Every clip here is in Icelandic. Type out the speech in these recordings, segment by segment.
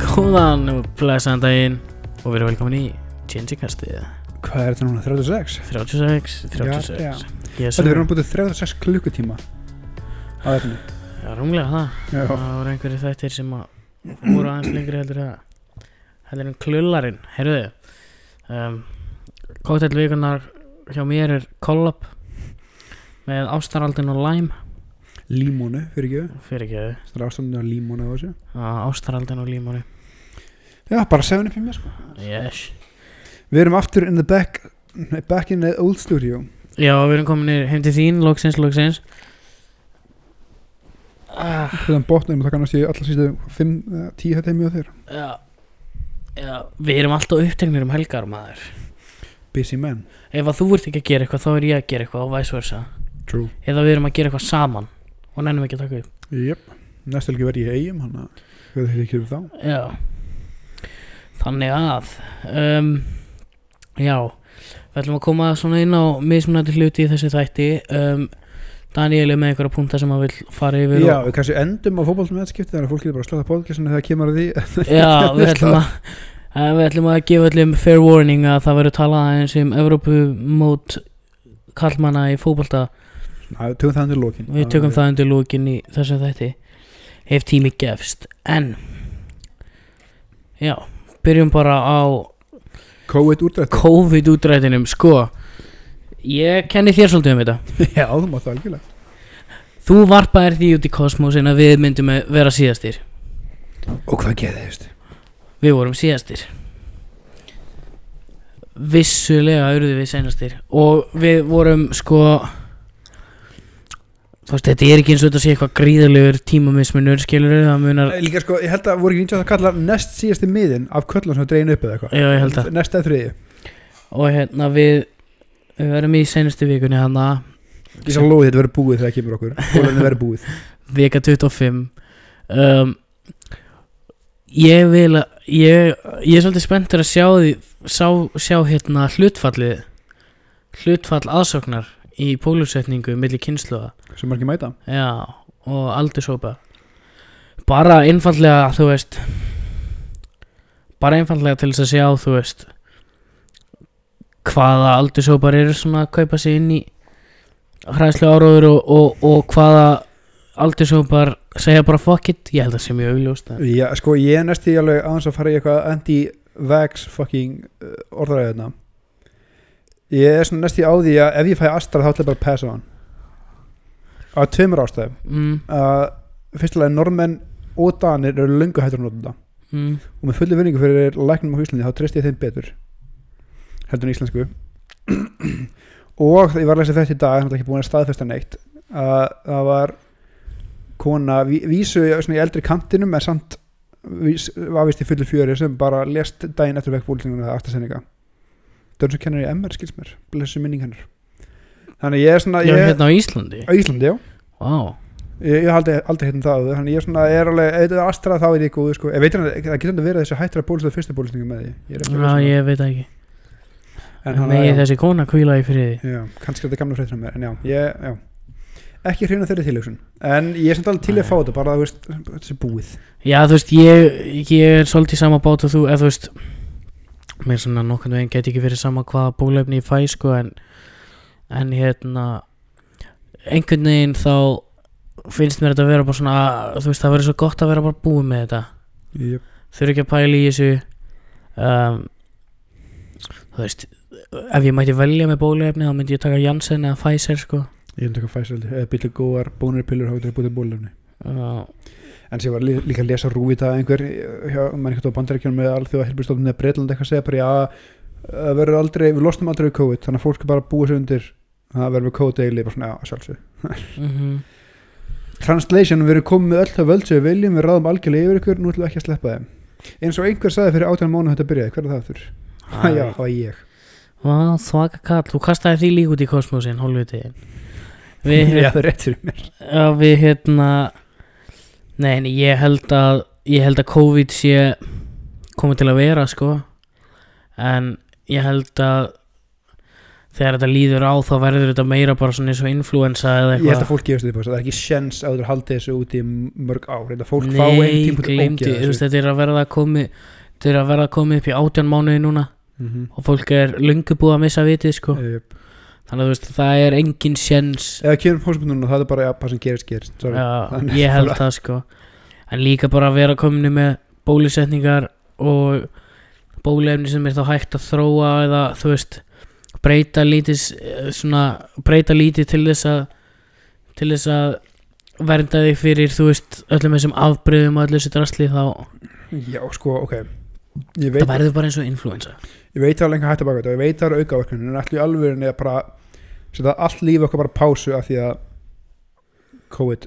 Góðan og blæsaðan daginn og verið velkomin í Gingikastið Hvað er þetta núna, 36? 36, 36 Já, já. Yes, Þetta er núna búið 36 klukkutíma á efni Já, rúmlega það Já, Það voru einhverju þættir sem að voru aðeins lengri heldur að heldur en klullarinn, heyrðu um, Kóttelvíkunar hjá mér er Collab með Ástaraldin og Lime límónu fyrir ekki fyrir ekki Það er ástandinu á límónu á þessu Ástaraldin og Lime Já, bara 7 upp í mér sko Yes Við erum aftur in the back nei, Back in the old studio Já, við erum komin heim til þín, loksins, loksins Ah Hverðan botnum, það kannast ég alltaf sístu 5-10 þetta heimi á þér Já, já, við erum alltaf uppteknir um helgar maður Busy man Ef að þú ert ekki að gera eitthvað þá er ég að gera eitthvað og vice versa True Eða við erum að gera eitthvað saman og nennum ekki að taka upp Jep, næst helgi verð ég í eigum hann Hvað þeir ekki um þá? Já, þannig að um, Já, við ætlum að koma svona inn á mismunandi hluti í þessu þætti um, Daniel er með einhverja punta sem hann vil fara yfir Já, og, við kannski endum á fótboltum eðskipti Þannig að fólk getur bara að slata podcastinu þegar kemur að því Já, við ætlum að eh, Við ætlum að gefa öllum fair warning að það verður talað eins um Evrópu mót karlmanna í fótbolta Ná, Tökum það undir lokin Við tökum það undir lókin í þessum þætti Ef tími gefst En Já, byrjum bara á Kóið útrætt COVID útrætinum Sko, ég kenni þér svolítið um þetta Já, þú mátt það algjörlega Þú varpaðir því út í kosmosin að við myndum að vera síðastir Og hvað gerðist? Við vorum síðastir Vissulega urðum við senastir Og við vorum sko Þú veist, þetta er ekki eins og þetta sé eitthvað gríðalegur tímamismunur skilur það munar Eh, Líka sko, ég held að voru ekki nýtjátt að kalla næst síðasti miðin af köllum sem dreyin upp eða eitthvað Já, ég held að Næsta þriði, og hérna við við verðum í senustu vikunni hérna, hana ég svo lóði þetta verið búið þegar kemur okkur Bólarni verið búið vika 25 um, ég vil að ég, ég er svolítið spenntur að sjá því sjá, sjá hérna hlutfallið hlutfall aðsóknar í pólusetningu milli kynsluða Sem margir mæta já, og aldurshópa bara einfallega þú veist bara einfallega til þess að sjá þú veist hvaða aldurshópar eru svona að kaupa sig inn í hræðslu áróður og, og, og hvaða aldurshópar segja bara fuck it ég held að það sé mjög augljóst að- Já, sko, ég er næst í alveg aðeins að fara í eitthvað anti-vax fucking uh, orðræðina Ég er svona næst í á því að ef ég fæ astra þá ætla ég bara að passa á hann Á tveimur ástæðum mm, uh, Fyrstulega, normenn og danir eru löngu hættur að nota þetta mm, og með fullu vinningu fyrir læknum á Íslandi þá treyst ég þeim betur heldur en íslensku og ég var að lesa þetta í dag hann er ekki búin að staðfesta neitt að það var kona ví- vísu svona, í eldri kantinum en samt vís, var vist í fullu fjöri sem bara lest daginn eftir vekkbúltinguna það aftasendinga Dörnsson kennur í MR skils mér blessu minning hennar þannig ég er svona ég ég, er hérna á Íslandi á Íslandi já wow. Ég, ég haldi aldrei hérna það áður, þannig ég svona er alveg, ef þetta er astra þá er ég góð sko. ég veit hann, það getur hann að vera þessi hættra bólustöð fyrsta bólustöðingu með því ég er ekki já, viss um ég veit það ekki það. en hann megi er, þessi kona kvíla í friði já, kannski er þetta gamla fréttur með, en já, ég, já ekki hrifna þeirri tilhugsun, en ég er samt alveg til í að fá þetta, bara þú veist, þessi búið Já þú veist ég, ég er svolítið í sama bát og þú eða þú veist mér svona nokkurn veginn get ekki verið sama hvaða bólefni ég fæ sko en en hérna einhvern veginn þá finnst mér þetta að vera bara svona þú veist það verður svo gott að vera bara búið með þetta yep. þurfi ekki að pæla í þessu um, þú veist ef ég mætti velja með bólefni þá myndi ég taka Janssen eða Pfizer sko ég vil taka fæsald, eða byrja góðar bónurpillur hafði þetta búið bólustöðinni uh, en sem ég var lí- líka að lesa rúið það einhver, eh, hjá, mann eitthvað á bandaríkjunum með alþjóða helbjörnstofnum eða Breitland eitthvað að segja bara já, það verður aldrei, við losnum aldrei við COVID þannig að fólk er bara að búa sig undir það verður við COVID eilíf, bara svona, já, sjálfsög mm Translation, við erum komið með öll það völd sem við viljum, við ráðum algjörlega yfir ykkur, nú ætlum við ekki að sleppa þeim eins og einhver sagði fyrir átján mánu þetta byrjaði, hver er það aftur? Ha, Já, það var ég Vá, svaka kall, þú kastaði því líka út í kosmosin, hólfutiðin Við, Já, það er rétt fyrir mér já, við hérna Nei, nei, ég held að Ég held að COVID sé komið til að vera, sko En ég held að þegar þetta líður á þá verður þetta meira bara svona eins og influensa eða ég held að eitthvað fólk gefist upp á þessu, það er ekki sjens að þú haldið þessu úti í mörg ár þetta fólk fá einn Nei, tímpúti gleymdi, þú veist, þessu þetta er að verða að komi þetta er að verða að komi upp í átján mánuði núna Mhm. og fólk er löngu búið að missa vitið sko Jöp. þannig að þú veist, það er engin sjens ef það kemur fólk núna það er bara að hvað sem gerist gerist sorry. Já, Þannig ég held bara- það sko en líka bara að vera komni með bólusetningar og bólefni sem er þá hægt að þróa eða þú veist breyta lítið s- svona, breyta lítið til þess að til þess að vernda þig fyrir þú veist öllum þessum afbreyðum og öllu þessu drasli þá já sko ok ég það veit, verður bara eins og influensa ég veit það er lengur hægt að baka þetta og ég veit það eru aukaverkunum en allir í alvörinni að bara setja allt lífi okkar bara á pásu af því að COVID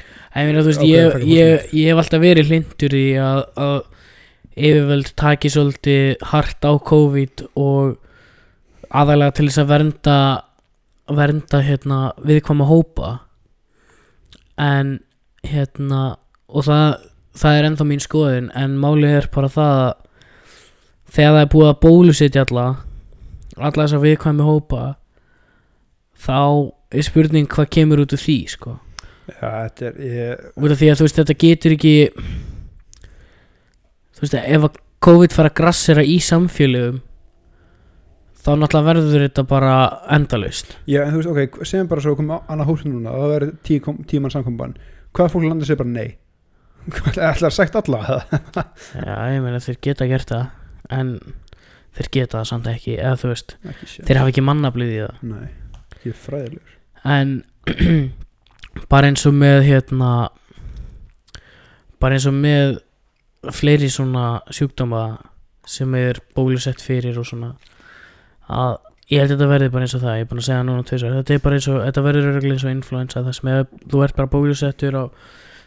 En ég meina, þú veist, Ákveðin ég, taka ég, ég hef alltaf verið hlindur í að, að yfirvöld taki svolítið hart á COVID og aðalega til þess að vernda vernda hérna viðkvæma hópa en hérna og það, það er ennþá mín skoðun en málið er bara það að þegar það er búið að bólusetja alla alla þess að viðkvæmi hópa þá er spurning hvað kemur út úr því sko já, þetta er ég, út af því að þú veist þetta getur ekki þú veist ef að COVID fara að grassera í samfélögum þá náttúrulega verður þetta bara endalaust Já, en þú veist, ok, segjum bara svo komum annað hópsum núna og það verður tíu, kom- tíu mann samkomban hvað fólk landið sér bara nei Hvað, ætlar að sagt alla það? já ég meina þeir geta gert það en þeir geta það samt ekki eða þú veist ekki sér þeir hafa ekki mannablið í það nei, ég er fræðilegur en bara eins og með hérna bara eins og með fleiri svona sjúkdóma sem er bólusett fyrir og svona að ég held að þetta verði bara eins og það ég er búin að segja það núna tvisar þetta er bara eins og þetta verður örugglega eins og influensa það sem ef þú ert bara bólusettur á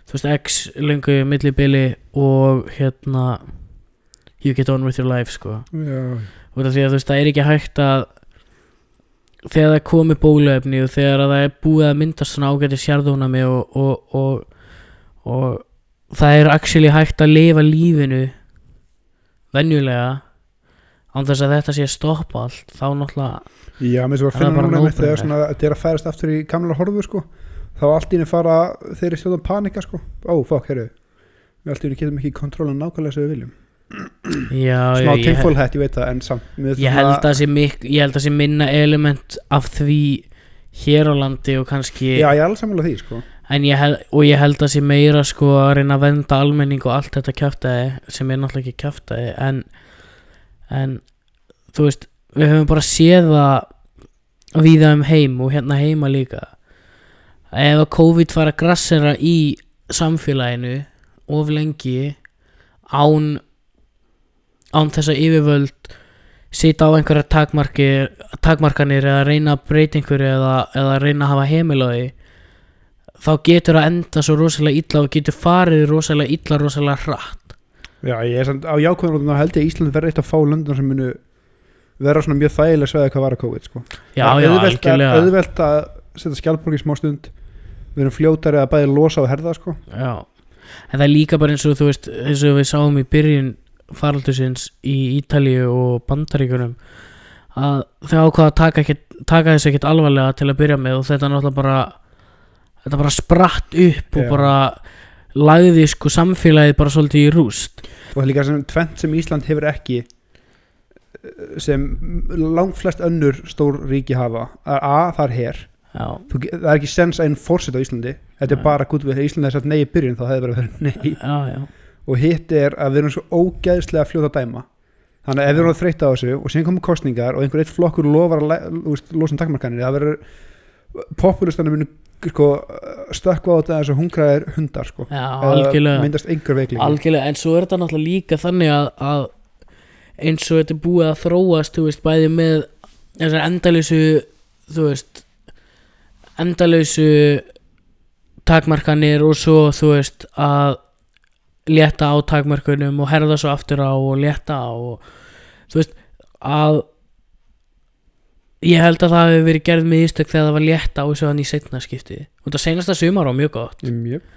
þú veist x lengu millibili og hérna you get on with your life sko já, út af því að þú veist það er ekki hægt að þegar það er komið bóluefni og þegar að það er búið að myndast svona ágæti sjarðónami og, og, og, og það er actually hægt að lifa lífinu venjulega án þess að þetta sé að stoppa allt þá náttúrulega já, mér svo að Það er finna bara núna einmitt no-brainer. þegar svona, þetta er að færast aftur í gamla horfu sko, þá allt í henni fara þeir eru stjórn að panika sko, ó, fokk, herru við allt í henni getum ekki kontrolan nákvæmlega sem við viljum já, smá ég- ég, tinfolhætt, ég veit það, en samt mér finnst ég, svona- held að sé mik, ég held að sé minna element af því hér á landi og kannski já, ég er alls sammála því sko En ég held, og ég held að sé meira sko að reyna að venda almenning og allt þetta kjaftaði sem er náttúrulega ekki kjaftaði en, en þú veist, við höfum bara séð það víða um heim og hérna heima líka að ef að COVID fara að grassera í samfélaginu of lengi án án þess að yfirvöld sita á einhverja takmarkir, takmarkanir eða reyna að breyta einhverju eða, eða reyna að hafa heimil á því þá getur það enda svo rosalega illa og getur farið rosalega illa rosalega hratt Já, ég er samt á jákvæðan og held ég að Ísland verði eitt af fá löndum sem munu vera svona mjög þægileg sveða hvað var að COVID sko. Já, Það er já, auðvelt að- algjörlega auðvelt að setja skjálfborg í smá stund við erum fljótari að bæði losa og herða sko. já. En það er líka bara eins og þú veist eins og við sáum í byrjun faraldusins í Ítalíu og Bandaríkunum að þau ákvaða að taka, ekkit, taka þess ekkit alvarlega til að byrja með og þetta náttúrulega bara þetta bara spratt upp Já. og bara lagði sko samfélagið bara svolítið í rúst og það er líka sem tvent sem Ísland hefur ekki eh, sem langflest önnur stór ríki hafa að A, það er her Já, Þú ge- það er ekki sens einn fórsett á Íslandi þetta Nei. er bara gútt við þegar Íslandi er satt nei í byrjun þá hefði bara verið nei já, já og hitt er að við erum svo ógæðslega fljóta að dæma þannig að ef við erum að þreytta á þessu og síðan komum kostningar og einhver eitt flokkur lofar að læ- þú veist, losa um takmarkanir það verður populistana munu sko, stökkva á þetta eins og hungraðir hundar sko. Já, Eða algjörlega myndast einhver veikling algjörlega, en svo er þetta náttúrulega líka þannig að, að eins og þetta er búið að þróast þú veist, bæði með þessar endalösu þú veist endalösu takmarkanir og svo þú veist að létta á takmarkunum og herða svo aftur á og létta á og þú veist að ég held að það hefur verið gerð með ístök þegar það var létta á þessu hann í seinna skipti og það seinasta sumar var mjög gott mjög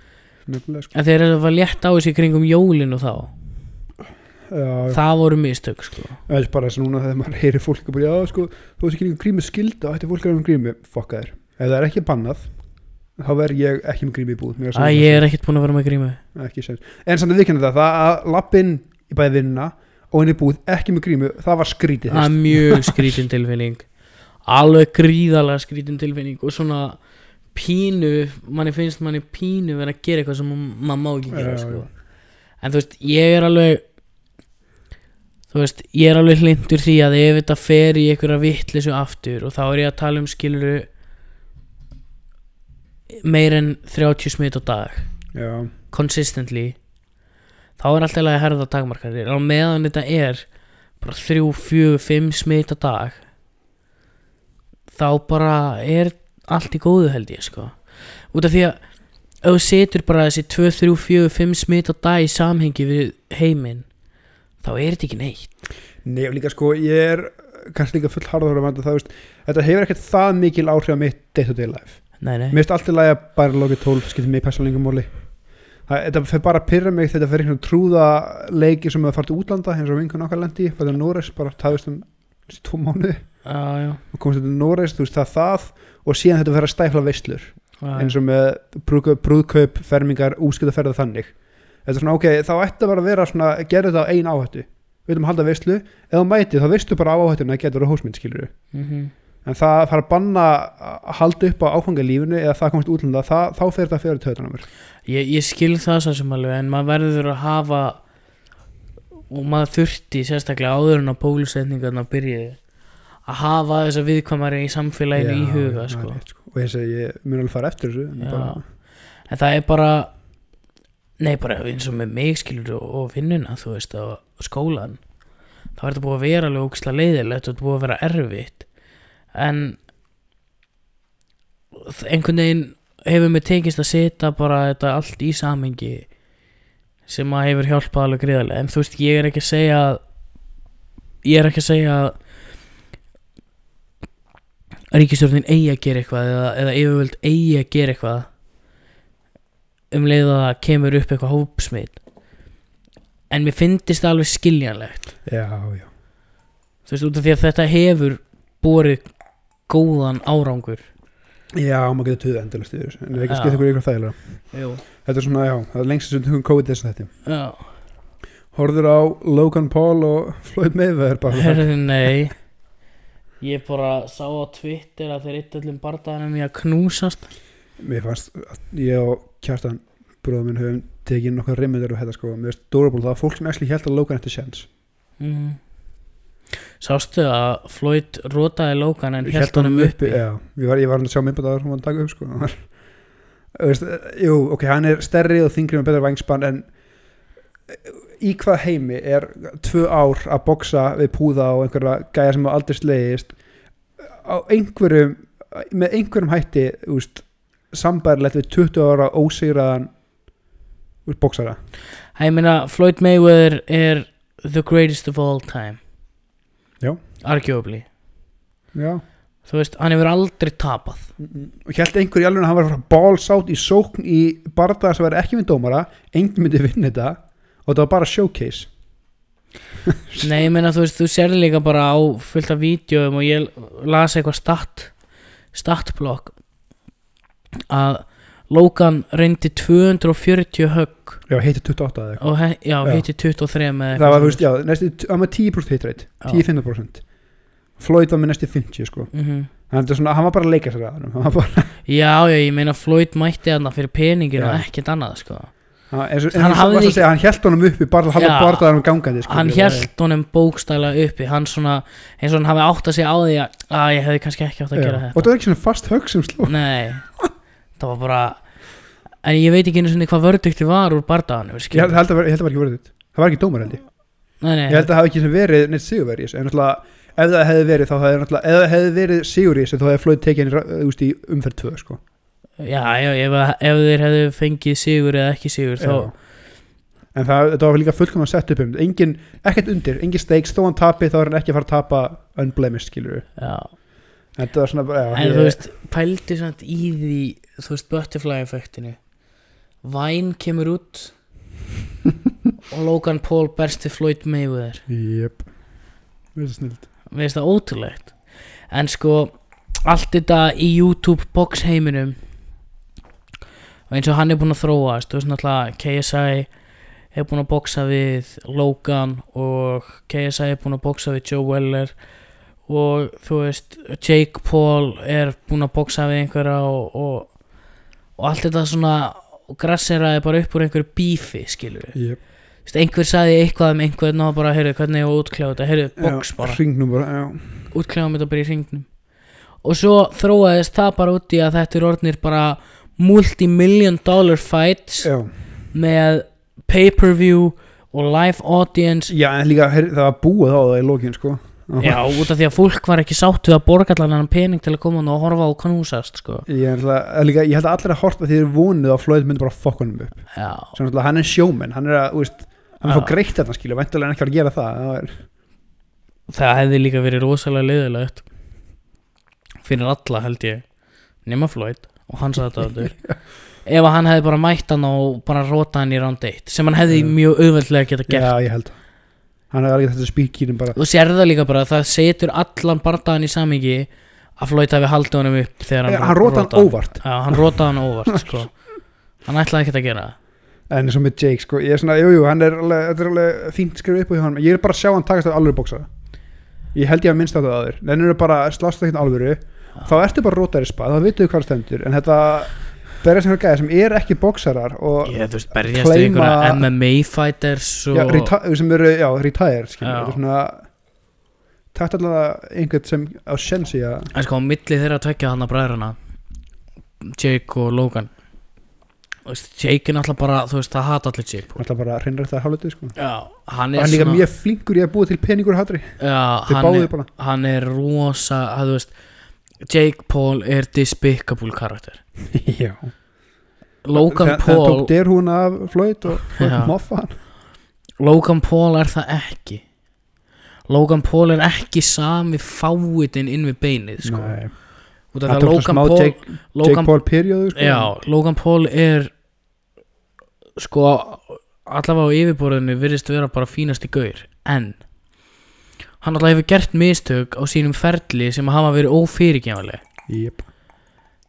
nefnilega sko. En þegar það var létt á þessu í kringum jólin og þá já, já. það voru mistök sko. Það er bara þess að núna þegar maður heyri fólk bara, já, sko, þú veist ekki líka grími skilda ætti fólk að vera með grími, fokka þér ef það er ekki bannað, þá verð ég ekki með grími í búð að Mér segja ég er ekkert búin að vera með grímu það. ekki sens. en samt að við kennum það, það að lappin í bæði vinnuna og henni búð ekki með grími, það var skrítið það er fyrst. mjög skrítin tilfinning alveg gríðalega skrítin tilfinning og svona pínu manni finnst manni pínu vera að gera eitthvað sem maður má ekki gera Já, sko. en þú veist, ég er alveg þú veist, ég er alveg hlindur því að ef þetta fer í einhverja vitleysu aftur og þá er ég að tala um skiluru meir en 30 smit á dag já, consistently þá er alltaf að herða takmarkarir og meðan þetta er bara 3, 4, 5 smit á dag þá bara er allt í góðu held ég sko út af því að ef þú setur bara þessi 2, 3, 4, 5 smit á dag í samhengi við heiminn þá er þetta ekki neitt nei, og líka sko ég er kannski líka full harður að vanda það, veist, þetta hefur ekkert það mikil áhrif á mitt day-to-day life nei, nei. Mér finnst allt í lagi að bara lokið 12 skiptir mig persónlingumóli Þetta fer bara að pyrra mig þetta fer einhvern trúða leiki sem að fara til útlanda eins og vingun okkar lendi, þetta er Norris bara tafist um þessi tvo mánuði Já, já, og komst þetta Norris, þú veist það það og síðan þetta fer að stæfla veislur já, eins og með brúðkaup, brúðkaup fermingar, úskiptaferða þannig Þetta er svona ok, þá ætti bara að vera svona gera þetta á ein áhættu, við viljum halda veislu eða mæti þá veistu bara á áhættuna að geta verið hósmynd skilur mhm. en það að fara að banna að halda upp á áfangalífinu eða það komast útlanda það, þá fer þetta fyrir töðan á mér ég, ég skil það svo sem alveg en maður verður að hafa og maður þurfti sérstaklega áður en að pólusetningarna byrjiði að hafa þess að viðkvæmari í samfélaginu í huga það er sko. rétt, sko. og ég segi, ég mun alveg fara eftir þessu en Já. bara, en það er bara nei bara eins og með mig skilur og, og vinnuna þú veist og skólan þá er þetta búið að vera alveg ógislega leiðilegt og þetta búið að vera erfitt en þ- einhvern veginn hefur mér tekist að setja bara þetta allt í samhengi sem að hefur hjálpað alveg gríðarlega en þú veist ég er ekki að segja að ég er ekki að segja að ríkistjórnin eigi að gera eitthvað eða, eða yfirvöld eigi að gera eitthvað um leið að það kemur upp eitthvað hópsmit en mér finnist það alveg skiljanlegt já, já, þú veist út af því að þetta hefur borið góðan árangur já, maður getur töða endalast yfir þessu en við Já. ekki skipt ykkur ykkur þægilega Jú. þetta er svona, já, það er lengst sem tökum COVID þess að þetta já, horður á Logan Paul og Floyd Mayweather bara, herðu nei ég bara sá á Twitter að þeir eitt öllum bardaðanum í að knúsast mér fannst að ég og Kjartan bróðum minn höfum tekið nokkar rimmendur og þetta sko, mér veist Dóraból það var fólk sem ekki held að Logan eftir sjans mm. sástu að Floyd rótaði Logan en held honum uppi já, ég var, ég var hann að sjá myndbætaður hún var að taka upp sko hann var, Þú veist, jú, ok, hann er stærri og þingri með betra vangspann en í hvað heimi er tvö ár að boksa við púða og einhverja gæja sem hafa aldrei slegist á einhverjum með einhverjum hætti úst, sambærilegt við 20 ára ósýraðan úr boksara Ég meina, Floyd Mayweather er the greatest of all time Já. Arguably já Þú veist, hann hefur aldrei tapað og held einhver í alveg að hann var að fara balls out í sókn í barða sem var ekki með dómara enginn myndi vinna þetta og þetta var bara showcase Nei, ég meina, þú veist, þú sérði líka bara á fullt af vídjóum og ég las eitthvað stat statblokk að Logan reyndi 240 högg já, heitir 28 eða og he, já, Já. heiti 23 með eitthvað það var, þú veist, já, næstu, það var 10% hit rate 10-15% Floyd var með næstu 50 sko mm hann, þetta er svona, hann var bara að leika sér að honum. hann var bara, Já, já, ég meina Floyd mætti hann fyrir peningin og Já. ekkert annað, sko hann, eins og, Hann eins og hafði varst ekki- að segja, hann held honum uppi bara hann Já. var bara hann gangandi sko, hann Ég var- held honum bókstæla uppi hann svona, eins og hann hafi átt að segja á því að að ég hefði kannski ekki átt að já. gera Mm, og það var ekki svona fast högg sem sló þetta nei, það var bara en ég veit ekki einu sinni hvað vördukti var úr bardaðanum ég held ég held að vera- ég held að vera ekki verið þitt það var ekki dómar held ég nei, nei, Ég held að það hafi ekki sem verið neitt sigurverð í þessu en náttúrulega ef það hefði verið þá hefði náttúrulega ef það hefði verið sigur í þessu þá hefði Floyd tekið henni úst í umferð 2 sko já, já, ef, ef þeir hefðu fengið sigur eða ekki sigur þá, Já. en það, þetta var líka fullkomna sett upp um engin, ekkert undir, engin stakes þó hann tapi þá er hann ekki að fara að tapa unblemished skilur við já, þetta var svona bara, já, en ég- þú veist pældu samt í því, þú veist butterfly effektinu væn kemur út og Logan Paul berst til Floyd Mayweather Jep Þetta er snild við veist það ótrúlegt en sko allt þetta í YouTube box heiminum og eins og hann er búinn að þróast þú veist náttúrulega KSI er búinn að boxa við Logan og KSI er búinn að boxa við Joe Weller og þú veist Jake Paul er búinn að boxa við einhverja og, og, og allt þetta svona grasseraði bara upp úr einhverju bífi skilur við, Jep einhver saði eitthvað um einhvern og bara, heyrðu, hvernig ég á að útkljá þetta heyrðu, box bara Hringnum bara, já útklæðum þetta bara í hringnum og svo þróaðist það bara út í að þetta er orðnir bara multimillion dollar fights Já, með pay-per-view og live audience já en líka her, það var búið á það í lókin sko já, út af því að fólk var ekki sátt við að borga allan hann pening til að koma þarna og horfa á knúsast sko. Ég, er náttúrulega- að líka, ég held að allir að horta því þeir vonuð að Floyd myndi bara fokk honum upp já, sem náttúrulega hann er sjóminn hann er að, þú veist, hann er Já. að fá greitt þarna skilja væntulega hann ekki að gera það, það er, það hefði líka verið rosalega liðilegt fyrir alla held ég nema Floyd og hans aðdáður ef að hann hefði bara mætt hann og bara róta hann í round 1 sem hann hefði Já. mjög auðveldlega geta gert já ég held það. hann er alveg þetta spíkirinn bara Þú sér það líka bara að það setur allan bardaðan í samingi að Floyd hafi haldið honum upp þegar hann, Eh, hann róta hann rótaði. óvart Já, hann rótaði hann óvart sko. Hann ætlaði ekki að gera það en eins og með Jake sko, ég er svona, jú, jú, hann er alveg, þetta er alveg fínt skrifið upp á hjá hann ég er bara að sjá hann takast af alvöru bóksa ég held ég að minnst þetta að þér en eru bara slást ekki alvöru þá ertu bara rótari spað, þá veitu hvað stendur en þetta, það er eitthvað gæði sem er ekki bóksarar og Ég, þú veist, berjast við Claima- einhverja MMA fighters og... já, reti- sem eru, já, retire skilur, Já. þetta er svona takt allavega einhvern sem á sensi að En sko, á milli þeirra tvekja hann að bræðrana Jake og Logan Þú veist, Jake er náttúrulega bara, þú veist, það hata allir Jake Paul. alltaf bara hreinrægt það hálfutið sko Já, hann og er hann er líka mjög flinkur í að búa til peningur og hatri Já, þeir hann er, báðu bara hann er rosa, að, þú veist Jake Paul er despicable karakter já Logan Þegar- þegar Paul tók derhún af Floyd og Floyd Já. moffa hann Logan Paul er það ekki Logan Paul er ekki sami fáitin inn við beinið sko. Nei. út af Hann það tók svona Logan smá Paul, Jake, Jake Logan, Paul period sko. já, Logan Paul er sko allavega á yfirborðinu virðist vera bara fínasti gaur en hann alltaf hefur gert mistök á sínum ferli sem hafa verið ófyrirgefanleg Jep.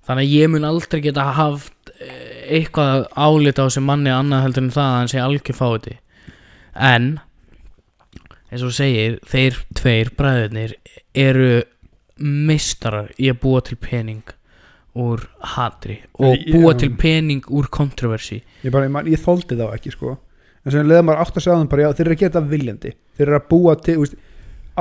þannig að ég mun aldrei geta haft eh, eitthvað álita á sem manni annað heldur en það að hann sé algjör fáti en eins og þú segir, þeir tveir bræðurnir eru mistarar í að búa til pening úr hatri og Í- búa já. til pening úr kontroversi ég, bara, ég, man- ég þóldi þá ekki sko. en sem leðum maður átt að segja þann bara já, þeir eru að gera þetta viljandi þeir eru að búa til þú veist,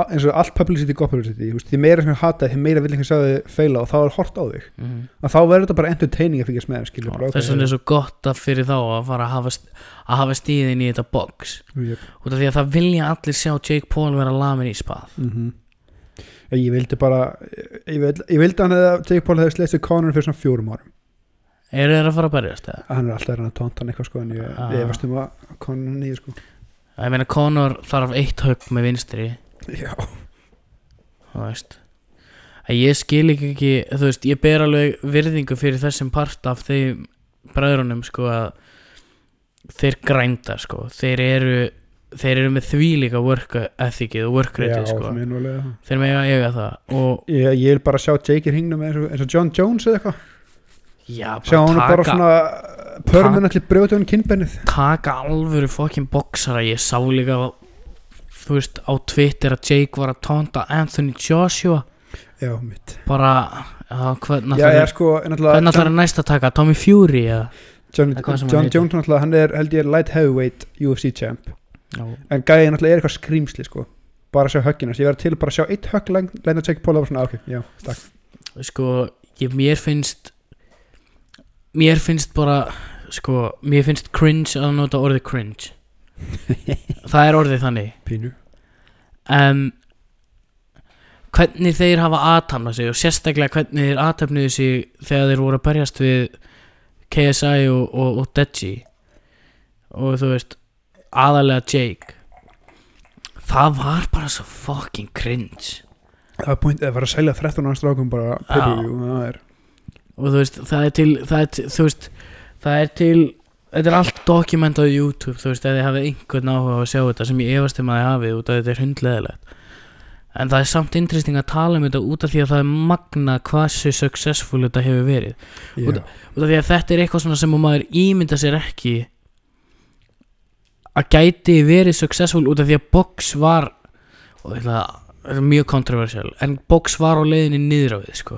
a- eins og allt publicity er gott publicity þú veist, því meira sem ég hata því meira vil einhver sagði feila og þá er hort á þig mm. að þá verður þetta bara entertaining að fylgjast með þeim, skilur, bara, þess vegna er svo gott að fyrir þá að fara að hafa, st- að hafa stíðin í þetta box Jep. út af því að það vilja allir sjá Jake Paul vera lamin í spað Mhm. ég vildi bara ég, vil, ég vildi hann að Jake Paul hefði sleist við Conor fyrir svona fjórum árum eru þeir að fara að berjast það? hann er alltaf að reyna að tónta hann eitthvað sko en ég, Ah. ég varst um að Conor er nýju sko Ég meina Conor þarf eitt högg með vinstri já, þú veist að ég skil ekki, ekki þú veist, ég ber alveg virðingu fyrir þessum part af þeim bræðrunum sko að þeir grænda sko þeir eru, þeir eru með því líka work ethicið og work rate já sko það meina alveg það. þeir mega eiga það og ég, ég vil bara sjá Jake í hringnum eins og, eins og John Jones eða eitthvað já, sjá hann bara bara taka, svona uh, permanently brjóta hann kynbennið taka alvöru fokkin boksara ég sá líka þú veist á Twitter að Jake var að tónda Anthony Joshua já, mitt bara já, hvernig já, ég sko, en Hvernig alltaf ætlar það næst að taka? Tommy Fury eða? John, Eða hvað sem hann John heitir. Jones náttúrulega, hann er held ég light heavyweight UFC champ en gæði náttúrulega er eitthvað skrýmsli sko bara að sjá högginast, ég verði til bara að sjá eitt högg læna að Jake Paul og bara svona, "Ah, ok, já, takk Sko, ég, mér finnst Mér finnst bara Sko, mér finnst cringe að nota orðið cringe Það er orðið þannig pínu um, Hvernig þeir hafa aðtamna sig og sérstaklega hvernig þeir aðtapnuðu sig þegar þeir voru að berjast við KSI og, og, og Deji og þú veist aðalega Jake Það var bara svo fucking cringe það var point, það var að selja 13 ára strákum bara pay-per-view, það er og þú veist það er til það er, til- þú veist það er til þetta er allt dokumentað á YouTube þú veist, ef þið hafið einhvern áhuga á að sjá þetta sem ég efast um að þið hafið út af þetta er hundleðilegt en það er samt interesting að tala um þetta út af því að það er magna hversu successful þetta hefur verið Já. Út- út af því að þetta er eitthvað svona sem að maður ímynda sér ekki að gæti verið successful út af því að box var og ég ætla að þetta er mjög kontroversial en box var á leiðinni niður á við sko.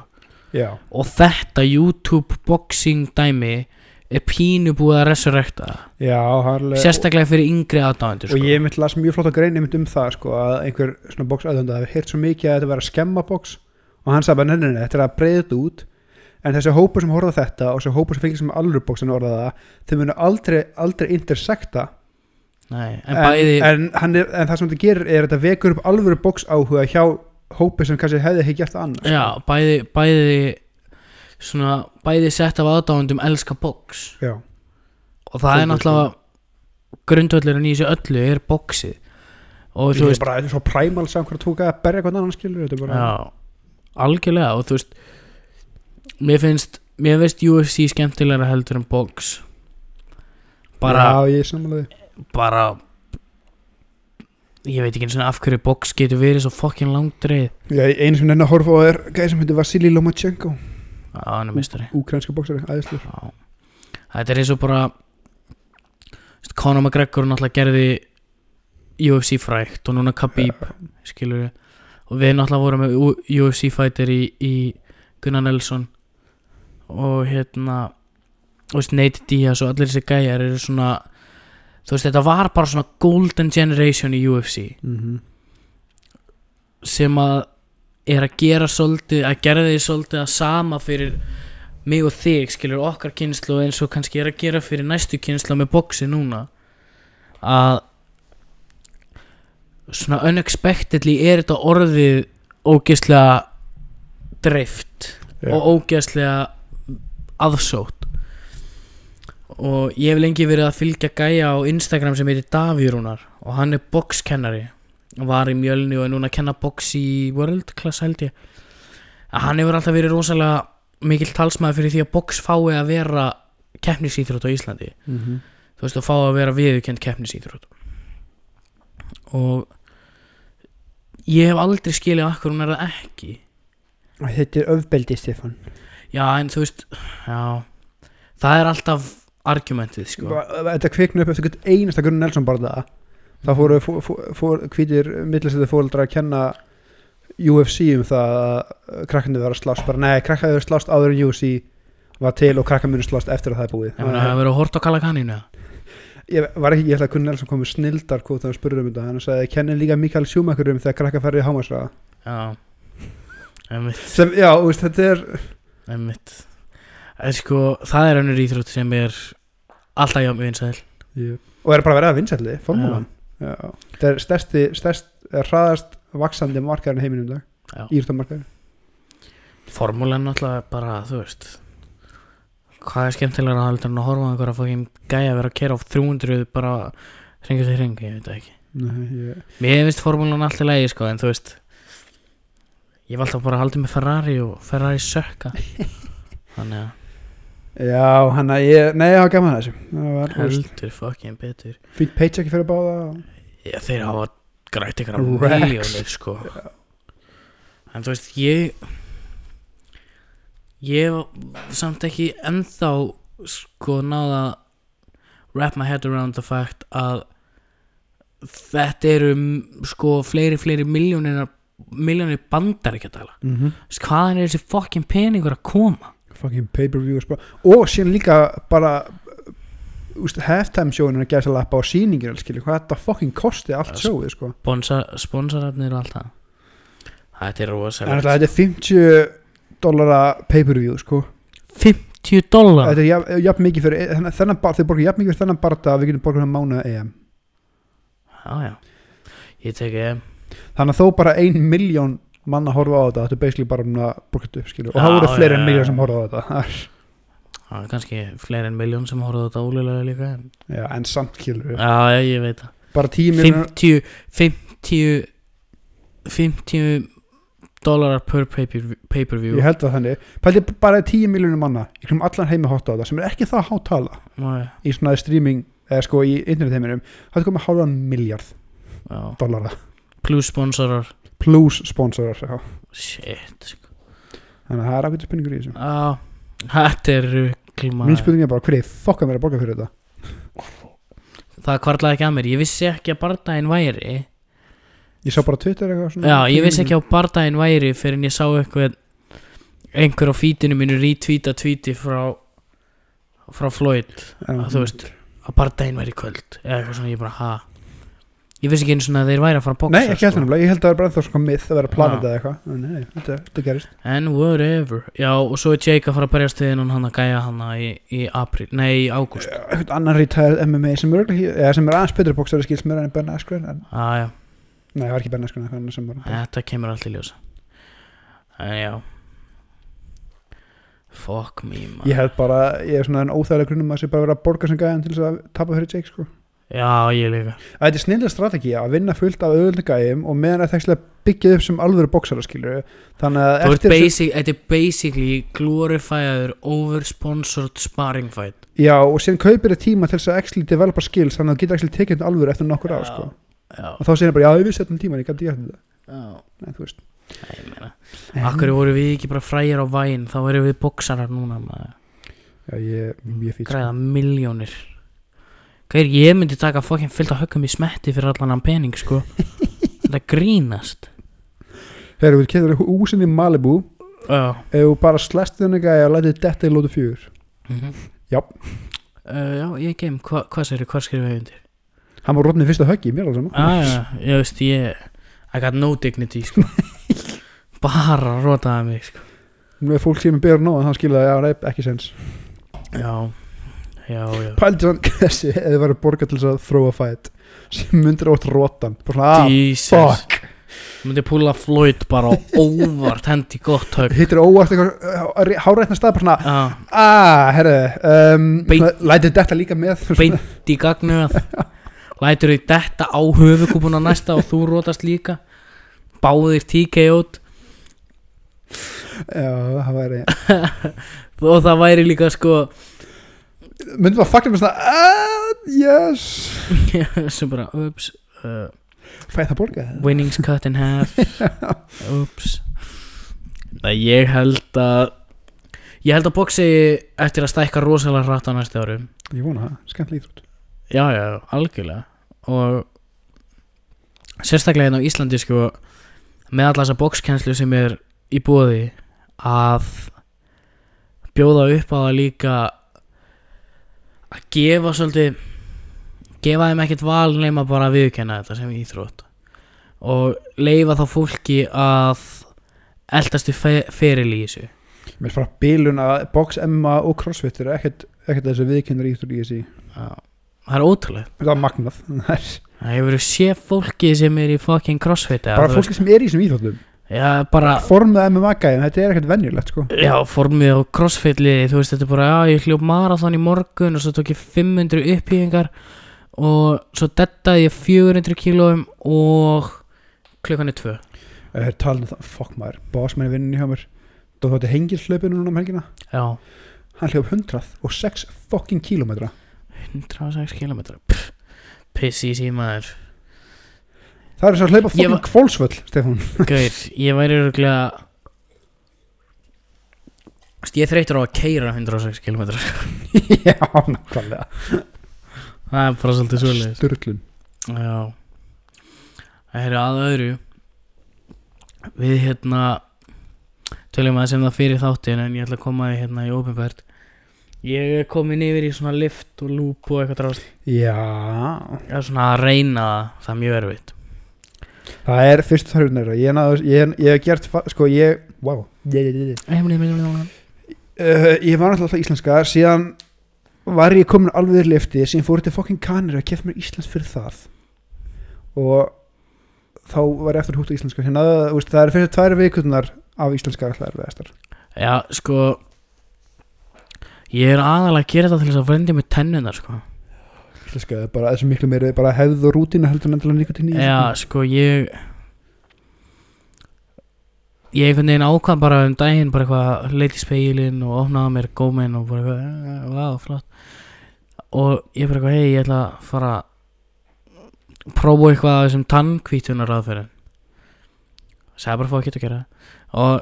Já. og þetta YouTube boxing dæmi er pínu búið að resurrekta það. Já, harlega sérstaklega fyrir yngri aðdáendur og sko. ég myndi las mjög flott að greina um það sko, að einhver svona box aðhönda hefði heyrt svo mikið að þetta var að skemma box og hann sagði bara nefnir þetta er að breyða þetta út en þessi hópur sem horfða þetta og þessi hópur sem fylgir sem alveg boxinu orðaða þau munu aldrei, aldrei intersekta Nei, en, bæði, en, hann er, en það sem þetta gerir er að þetta vekur upp alvöru box áhuga hjá hópi sem kannski hefði ekki gert það annars já, bæði bæði svona, bæði sett af aðdáendum elska box Já. og það er Svolítið, náttúrulega grundvöllurinn í þessu öllu er boxið og Þetta þú er veist bara þetta er svo præmal sem hverja tóka að berja hvernig annan skilur þetta er bara já, algjörlega og þú veist mér finnst, mér finnst UFC skemmtilegra heldur en box bara, já, ég er samanlega því. bara ég veit ekki eins og af hverju box getur verið svo fokkin langdreið Já, einu sem nenni að horfa á er gæði sem heitir Vasily Lomachenko á hann er mistari úkrænska boxari, æðislu Já. þetta er eins og bara þú veist, Conor McGregor náttúrulega gerði UFC frækt og núna Khabib skilur við og við náttúrulega vorum með U- UFC fighter í, í Gunnar Nelson og hérna þú veist, Nate Diaz og allir þessi gæjar eru svona þú veist þetta var bara svona golden generation í UFC mm sem að er að gera svolítið að gera því svolítið að sama fyrir mig og þig skilur okkar kynslu eins og kannski er að gera fyrir næstu kynslu með boxi núna að svona unexpectedly er þetta orðið ógeðslega dreift Já. og ógeðslega aðsótt og ég hef lengi verið að fylgja gæja á Instagram sem heitir Davírúnar og hann er boxkennari og var í mjölni og er núna að kenna box í World Class held ég að hann hefur alltaf verið rosalega mikill talsmaður fyrir því að box fái að vera keppnisýþrótt á Íslandi mm -hmm. þú veist að fá að vera viðurkend keppnisýþrótt og ég hef aldrei skilið af hverju hún er það ekki Þetta er öfbeldi, Stefan já en þú veist já, það er alltaf argumentið sko Þetta kvikna upp eftir hvert einasta Gunnar Nelson barða Það Mhm. fóru fó- fó- fó- hvítir millisæti fóreldra að kenna UFC um það að krakkandi verður að slást bara nei, krakkandi verður að slást áður en UFC var til og krakkandi verður slást eftir að það er búið ég meina það hefur verið að horta á kalla kaninu ég var ekki, ég held að Gunnar Nelson komið snildar kvóta hann spurði um þetta, hann sagði kennin líka Mikael Schumacher um þegar krakkandi ferði í hámasraða já einmitt, sem, já, þú veist, þetta er einmitt en sko það er önnur íþrótt sem er alltaf hjá mjög vinsæl og er bara verið að vinsælli, formúlan Já. þetta er stærsti, stærst hraðast vaksandi markaðurinn í heiminum í Já. dag íþjóðmarkaðurinn Formúlan náttúrulega er bara, þú veist Hvað er skemmtilega að heldur en að horfa á einhverja fókin gæja að vera að kera á 300 bara hringur til hring, ég veit það ekki Nei, ég- Mér finnst formúlan alltaf lægi, sko, en þú veist Ég var alltaf bara að halda með Ferrari og Ferrari sökka Þannig að Já, hann að ég, nei, það var gaman að þessu það var þú veist, heldur fókin betur fínt paycheck fyrir báða og- Já, þeir hafa grætt ykkur Rex. miljónir, sko En þú veist, ég Ég hef samt ekki ennþá sko náða wrap my head around the fact að þetta eru mm, sko fleiri, fleiri miljónir miljónir bandar ekki að tala Mhm. Þess, hvaðan er þessi fucking peningur að koma fucking pay-per-view og spá- og síðan líka bara úst, halftime sjóinu að gera sér lappa á sýningir skilji, hvað þetta fucking kosti allt Já, sjóið sko. Bonsa, sponsorarnir og allt það Þetta er en rosalegt alltaf þetta er 50 dollara pay-per-view sko. 10 dólar þetta er jafn, jafn mikið fyrir þennan, þennan bar, þeir borga jafn mikið fyrir þennan barða að við getum borgað hann mánuða EM Já, já Ég eh, teki em þannig að þó bara ein miljón mann að horfa á þetta þetta er basically bara um að borga þetta upp skilur og Já, það voru já, fleiri en já, miljón já. sem horfa á þetta Það er- Það er kannski fleiri en miljón sem horfðu á þetta ólega líka en... já, en samt skilur Já, já, ég veit það bara tíu miljón 50, 50 50 dólarar per pay-per- pay-per-view ég held það þannig pældi bara 10 miljónum manna í kringum allan heimi hótt á það sem er ekki það hátala Nei, í svona streaming eða sko í internetheiminum það er komið hálfan miljard já. dollara plus sponsorar plus sponsorar já. shit sko. þannig að það er ákveðið spurningur í þessu já, þetta er mín ruglma spurning er bara hverju fokka mér að borga fyrir þetta það kvarlaði ekki að mér, ég vissi ekki að bardaginn væri ég sá bara Twitter eitthvað svona já, ég vissi ekki að bardaginn væri fyrir en ég sá eitthvað einhver á fítinu mínu retweeta tweeti frá frá Floyd Já. þú veist, að bardaginn væri í kvöld eða eitthvað svona, ég bara, ha ég vissi ekki einu svona að þeir væri að sko. fara að bóksa Nei, ekki heldur nefnilega, ég held að það er bara ennþá svona myth að vera planetið eða eitthvað En Nei, þetta, þetta gerist En whatever Já og svo er Jake að fara að berjast við hann hann að gæja hann í, í apríl, nei í ágúst Eh, Eitthvað annar retired MMA sem er, örugglega ekki- eða, sem er aðeins betur bóksari skil sem er enn Ben Askren en, Aja, Nei, það var ekki Ben Askren, það var annar sem var Ah, þetta kemur allt í ljós En já Fuck me man Ég held bara, ég er svona en óþægilega grunum að sé bara vera að borga sem gæðan til þess að tapa fyrir Jake sko. Já ég líka Að Þetta er snillega strategi að vinna fullt af auðvöldu gæðum og meðan að það byggjað upp sem alvöru bóksara skilur Þannig að Þú ert eftir þessu- basic, þetta er basically glorifyður oversponsored sparring fight Já, og síðan kaupir þetta tíma til þess að actually developa skills þannig að það getur actually tekið þetta alvöru eftir nokkur ár Já, sko. Já, og þá segir hann bara, já, ég vissi þetta um tíman, ég gæti gert þetta já. Nei, þú veist Æ, ég meina, Akkur voru við ekki bara fræjar á væn þá erum við boksarar núna maður Já, ég, ég sko. fýt græða miljónir Hver, ég myndi taka fokkin fyllt að höggum í smetti fyrir allan hann pening sko Þetta grínast Herru, við keftur húsin í Malibu Já ef þú bara slest þenni gæja og lætið detta í lótu fjögur uh, Já. Mhm. Já, ég geim, hva, hvað segir, hvað skrifa ég undir? hann var rótnið fyrsta höggi, mér alveg sama Ah, já, ég veist, ég I got no dignity sko Bara rotaði mig sko nú er fólk sem er beður nóg en hann skiljaði að það er ekki sens Já, já, já pældi hann þessi ef þið væri að borga til þess að throw a fight sem myndir átt rótan bara svona, ah, Jesus Myndi púla Floyd bara á óvart hendi gott að högg Ah, hittir óvart eitthvað eh, hárætna stað bara svona, Já, að, herru um, Beint- lætið detta líka með svona. beint í gagnu að lætur þau detta á höfukúpuna næsta og þú rótast líka báðir TK-ot já, það væri og það væri líka sko myndum að fakta með svona að, yes sem bara ups uh, fæði það borgað winnings cut in half ups Nei, ég held að ég held að boxi eftir að stækka rosalega hratt á næsta árum ég vona það, skemmtileg íþrótt já, já, algjörlega og sérstaklega hérna á Íslandi sko, með alla þessa bókskenslu sem er í bóði að bjóða upp á það líka að gefa svolítið gefa þeim ekkert val nema bara að viðkenna þetta sem íþrótt og leifa þá fólki að eldastu feril í þessu Mér fara bílun að box, MMA og crossfit eru ekkert, ekkert þessi viðkynnar íþur í þessi Já. það er ótrúlega Það er magnað það er það hefur sé fólki sem er í fucking crossfit eða Bara þú fólki sem er í þessum íþróttum veist- já, bara Formuð MMA gæðin, þetta er ekkert venjulegt sko Já, formið á crossfitliði, þú veist, þetta er bara, já, ég hljóf marathon í morgun og svo tók ég 500 upphýðingar og svo dettaði ég 400 kílóum og klukkan er tvö. Það er talað um það, fuck maður, bossmenni vinnin í hjá mér Þú þótti hengil hlaupinu núna um helgina Já, Hann hljóf 106 fucking kílómetra 106 kílómetra, pff, pissi í símaður. Það er svo að hlaupa Ég fucking var- var... kvólsvöll, Stefán Gaur, ég væri örgulega, þú veist, ég er þreytur á að keira 106 kílómetra, Já, nákvæmlega það er bara svolítið svolítið. Sturlun Já Það er að öðru Við hérna Tölum að sem það fyrir þáttin En ég ætla að koma því hérna í ofinbært Ég er komin yfir í svona lift og lúp og eitthvað drást Já Ég er svona að reyna það, það er mjög erfitt Það er fyrstu þörfunar Ég, náðu- ég, ég hef gert, fa- sko ég Wow Já, uh, ég var náttúrulega alltaf íslenska síðan var ég komin alveg í lifti síðan fór ég til fokkin kanir að kefta mér íslensk fyrir það og þá var ég eftir hútt á íslenska hérna, þú veist, það er fyrir tvær vikunar af íslenska alltaf erfiðastar sko Ég er aðalega að gera þetta til þess að vrendi með tennunar sko íslenska er bara þessu miklu meiri bara hefð sko, og rútina heldur en endilega nikotín í Já, sko, ég ég einhvern veginn ákvað bara um daginn bara eitthvað leit í speilin og opnaði mér góminn og bara eitthvað, "Eh, vá, flott og ég bara eitthvað, hei, ég ætla að fara að prófa eitthvað af þessum tannkvítunar aðferðin sagði bara fá að geta að gera og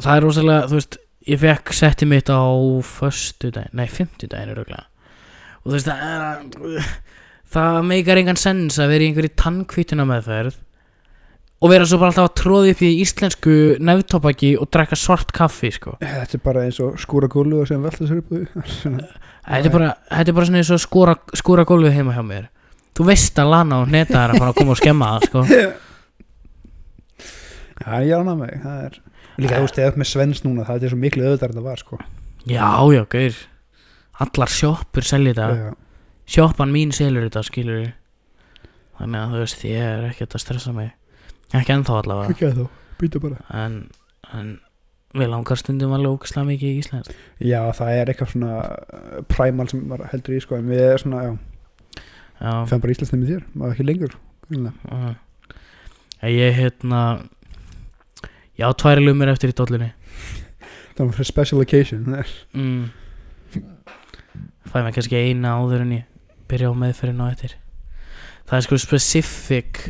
það er rosalega, þú veist ég fekk setti mitt á föstu daginn, nei, fymtu daginn er auðvitað og þú veist, það er að það meikar engan sens að vera í einhverju tannkvítuna meðferð og vera svo bara alltaf að tróði upp í íslensku nefntopaki og drekka svart kaffi sko. Eh, Þetta er bara eins og skúra gullu og sem velta sér upp úr því. Svona, þetta, er bara, þetta er bara svona eins og skóra, skóra gólfið heima hjá mér þú veist að lana og neta er að fara að koma og skemma það sko. Já, ég er annað mig það er, Líka þú stegið upp með Svens núna það er svo miklu auðvitað en það var sko. já, já, gaur allar sjoppur selja þetta Já. sjoppan mín selur þetta, skilur þannig að þú veist, ég er ekkert að stressa mig ekki ennþá allavega Ekki að þú, býta bara en, en við langar stundum alveg ógislega mikið í Íslands Já, það er eitthvað svona uh, primal sem maður heldur í sko en við erum svona, já, já, fenn bara Íslandsnið með þér maður ekki lengur greinilega. já. En ég hérna já, tværi lumur eftir í dollunni Það var fyrir special occasion það er- mm. fæ mér kannski eina áður en ég byrja á meðferðin á eftir það er sko specific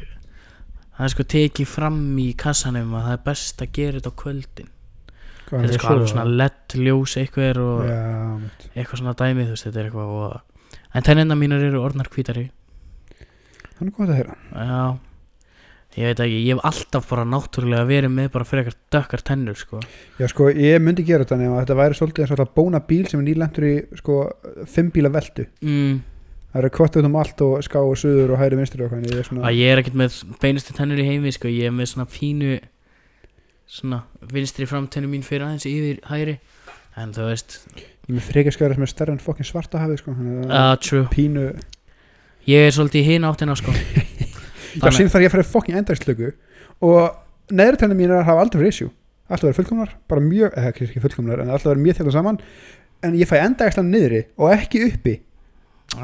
það er sko tekið fram í kassanum að það er best að gera þetta á kvöldin hvað þetta er er sko alveg svona lett ljós eitthvað og Já, mitt. eitthvað svona dæmi þú veist þetta er eitthvað og... en tennina mínar eru orðnar hvítari Hann er gott að heyra Já Ég veit ekki, ég hef alltaf bara náttúrulega verið með bara frekar dökkar tennur sko Já, sko, ég myndi gera þetta nema þetta væri svolítið eins og alltaf bóna bíl sem er nýlendur í sko, fimm bíla veldu mm. Það eru kvartu út um allt og ská og suður og hæri vinstri og hvað en ég er svona Að ég er ekkert með beinustu tennur í heimi sko Ég er með svona fínu Svona vinstri framtennu mín fyrir aðeins yfir hægri En þú veist Ég er með frekjaskæra sem er stærri en fokkin svarta hafið sko þannig að uh, True Pínu Ég er svolítið í hina áttina sko Já, Þannig- síðan þarf ég að fara í fokkin endagslöku og neðri tennir mínar hafa aldrei verið issue alltaf verið fullkomnar, bara mjög eða ekki- ekki fullkomnar, en alltaf verið mjög þjátt saman en ég fæ endagslan niðri og ekki uppi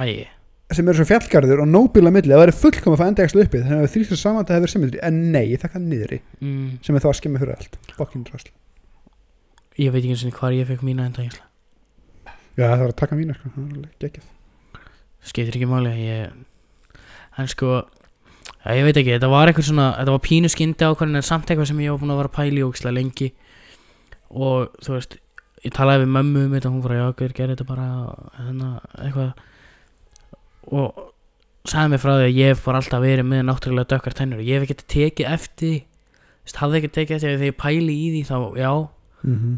Æ, sem eru svo fjallgarður og nóbíla milli það verið fullkom að fá endagslu uppi þannig að þrýstur saman það hefur verið symmetri, en nei, ég þakka niðri mm, sem er þá að skemmi fyrir allt, fokkin drasl ég veit ekki eins og hvar ég fekk mína enda einsla Já, það var að taka mína, sko, það var alveg geggjað Skeitir ekki máli ég... En sko Já, ég veit ekki, þetta var eitthvað svona, þetta var pínu skyndi ákvörðin en samt eitthvað sem ég var búin að vera að pæli ógislega lengi og þú veist, ég talaði við mömmu um þetta og hún bara, já, hver gerir þetta bara þannig, eitthvað og sagði mér frá því að ég hef bara alltaf verið með náttúrulega dökkar tennur og ég hef ekki tekið eftir því, þú veist, hafði ekki tekið eftir því að þegar ég pæli í því þá, já,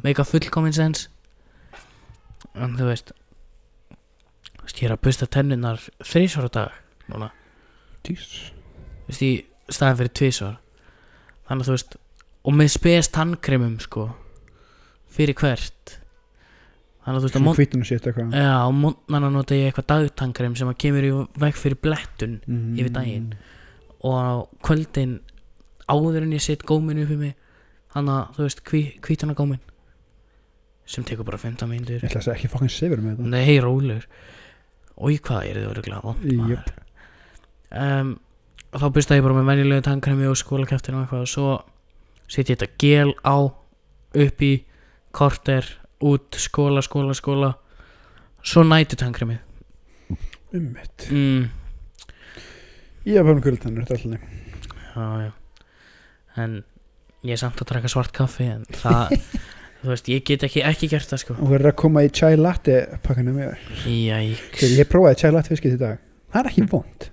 meika fullkominn sens en þú veist þú veist, ég er að busta tennunar þrísvara dag núna Jesus. Þú veist, í staðan fyrir tvísvar þannig að þú veist og með spes tannkremum sko fyrir hvert þannig að þú veist að Svona mont, hvítun og shit eitthvað. ja, á montnana nota ég eitthvað dagtannkrem sem að kemur í veg fyrir blettun Mhm. yfir daginn. og á kvöldin áður en ég set gómin upp í mig þannig að þú veist hví, hvítana gómin sem tekur bara 15 mínútur Ég ætla að segja ekki fokkin sefur með þetta Nei, rólur Új, hvað er þið öruglega vond Jöp. um, Þá byrstaði ég bara með venjulegu tannkremi og skólakeftin og eitthvað og svo setja ég þetta gel á upp í korter, út, skóla, skóla, skóla Svo nætu tannkremið Ummitt mm, Ég hef hann kvöldtennur, þetta er alltaf Já, já En ég er samt að draka svart kaffi en það, þú veist, ég get ekki ekki gert það sko og verður að koma í chai latte pakkanu með þér Jæks Þegar ég prófaði chai latte fiskit í dag Hm. það er ekki vond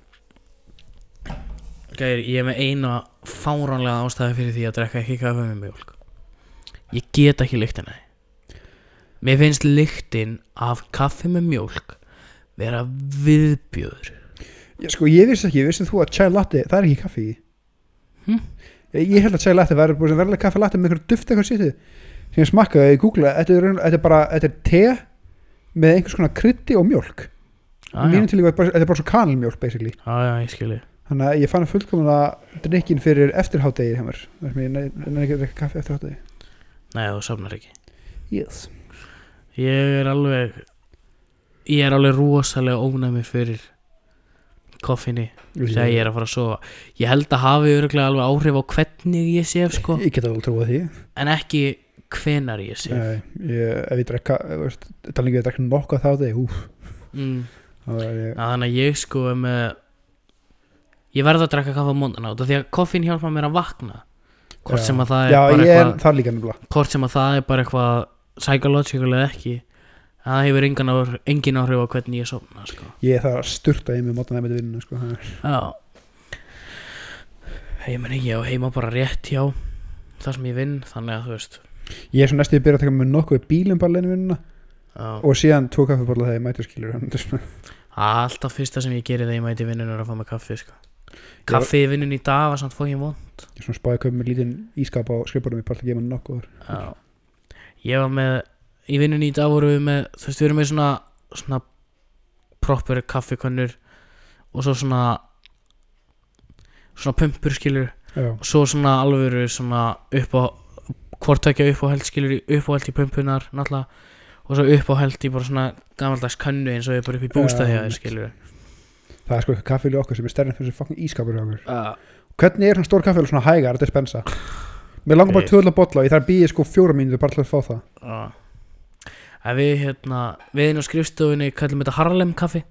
Gæri, ég er með eina fáránlega ástæði fyrir því að drekka ekki kaffi með mjólk Ég get ekki lyktin að því Mér finnst lyktin af kaffi með mjólk vera viðbjöður ég, sko, ég vissi ekki, ég vissi þú að chai latte það er ekki kaffi í Hm? Ég- ég held að chai latte verður búin sem verður kaffi latte með einhver duft eitthvað sýttu sem ég smakkaði, ég googlaði, þetta er, raun- þetta er bara þetta er te með einhvers konar krytti og mjólk ah, Já, mínum til líka, þetta er bara svo kanilmjólk basically já, já, ég skilji þannig að ég fann að fullkomna drikkin fyrir eftirhátegi hjá mér þar sem ég nefnir ekki að drekka kaffi eftirhátegi Nei, þú sofnar ekki yes. Ég er alveg Ég er alveg rosalega ónæmi fyrir koffinni þegar ég er að fara að sofa ég held að hafi örgulega alveg áhrif á hvernig ég sef sko ég geta alveg trúið því en ekki hvenar ég sef Nei, ég, ef ég drekka þú veist, talingi við drekka nokkuð þá deg úf, mm. þá er ég að þannig að ég sko er með ég verð að drekka kaffa móndana út af því að koffin hjálpa mér að vakna hvort Já. sem að það er já, bara ég er eitthvað þar líka nefnilega hvort sem að það er bara eitthvað psychological eða ekki að það hefur engan, áhr, engin áhrif á hvernig ég sofna sko. ég er þar að sturta í mig mótan að með vinnuna sko. það er- Já Ég meni ekki, ég á heima bara rétt hjá þar sem ég vinn, þannig að þú veist ég er svo næstu að byrja að taka með nokkuð bílum bara leinu vinnuna já. og síðan tvo kaffeborla þegar ég mæti skilur hann þetta er svona- Alltaf fyrsta sem ég geri þegar ég mæti vinnun er að fá mig kaffi sko. Kaffi í vinnun í dag var samt fókin von ég er svona spáði að kaupa með lítinn ískap á skrifborðum ég bara ætla að gefa hann nokkuð já. Ég var með í vinnun í dag vorum við með þú veist, við erum með svona, svona proper kaffikönnur og svo svona svona pumpur skilur já, og svo svona alvöru svona upp á hvort tökja upp á held skilur upp á held í pumpunar náttúrulega og svo upp á held í bara svona gamaldags könnu eins og ég bara upp í bústað hjá Já, þér skilur það er sko eitthvað kaffil í okkur sem er stærn fyrir þessu fucking ískapur hjá okkur uh, hvernig er hann stór kaffil svona hægar þetta er spensa mér langar bara Hey. tvöðla bolla og ég þarf að býja sko fjóra mínútur bara til að fá það uh. að við hérna við inn á skrifstofunni kallum þetta Harlem kaffi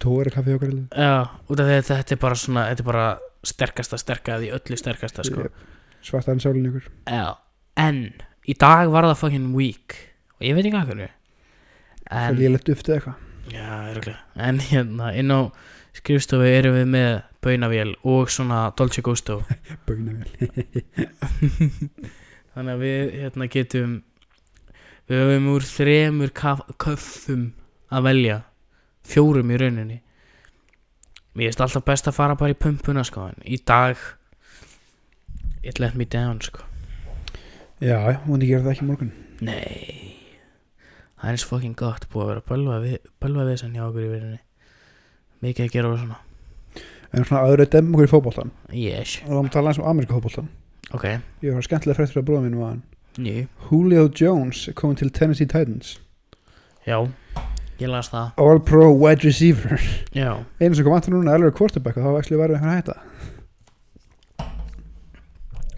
tóri kaffi hjá okkur heldur. já, út af því að þetta er bara svona þetta er bara sterkasta sterkað í öllu sterkasta sko Ég- svarta enn sálinn ykkur já, en í dag var það fucking week og ég veit ekki að hverju en, ég lett upp til eitthvað Já, örgulega En hérna, inn á skrifstofu erum við með baunavél og svona Dolce Gusto Bögna vel Þannig að við hérna getum Við höfum úr þremur kaf, köffum að velja Fjórum í rauninni Mér finnst alltaf best að fara bara í pumpuna sko En í dag It let me down sko Já, já, hún gerir það ekki í morgun Nei Það er eins fucking gott búið að vera bölva við, bölva við sem hjá okkur í virinni Mikið að gera og svona En svona aðra dem okkur í fótboltan Yes, Og þá erum við að tala eins um ameríska fótboltan ok Ég var skemmtilega fréttur að bróða mínum að hann Jú Julio Jones er komin til Tennessee Titans Já, ég las það All pro wide receiver Já, Einu sem kom aftur núna er alveg quarterback og þá var ekki verið einhvern að hætta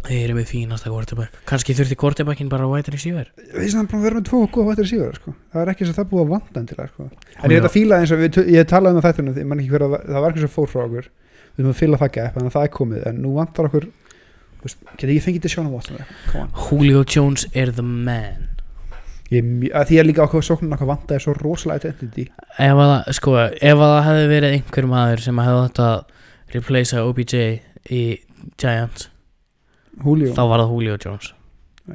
þeir eru með fínasta quarterback Kanski þurfti quarterbackin bara á wide receiver Við sem hann búin að vera með tvo góða wide receiver sko. Það er ekki sem það búið að vanda hann til það sko. En Já. ég er þetta fíla eins og við, t- ég talaði um þetta Ég man ekki hver að það var eitthvað sem fór frá okkur Við erum að fíla það gæp, þannig að það er komið En nú vantar okkur þú veist, Geti ég fengið til Sjónum Watson eða eitthvað? Come on. Julio Jones er the man Ég er mjö- að Því að líka okkur sóknum okkur vantaði svo rosalega identity Ef að það, sko, ef að það hefði verið einhver maður sem hefði þetta replacea OBJ í Giants Julio, þá var það Julio Jones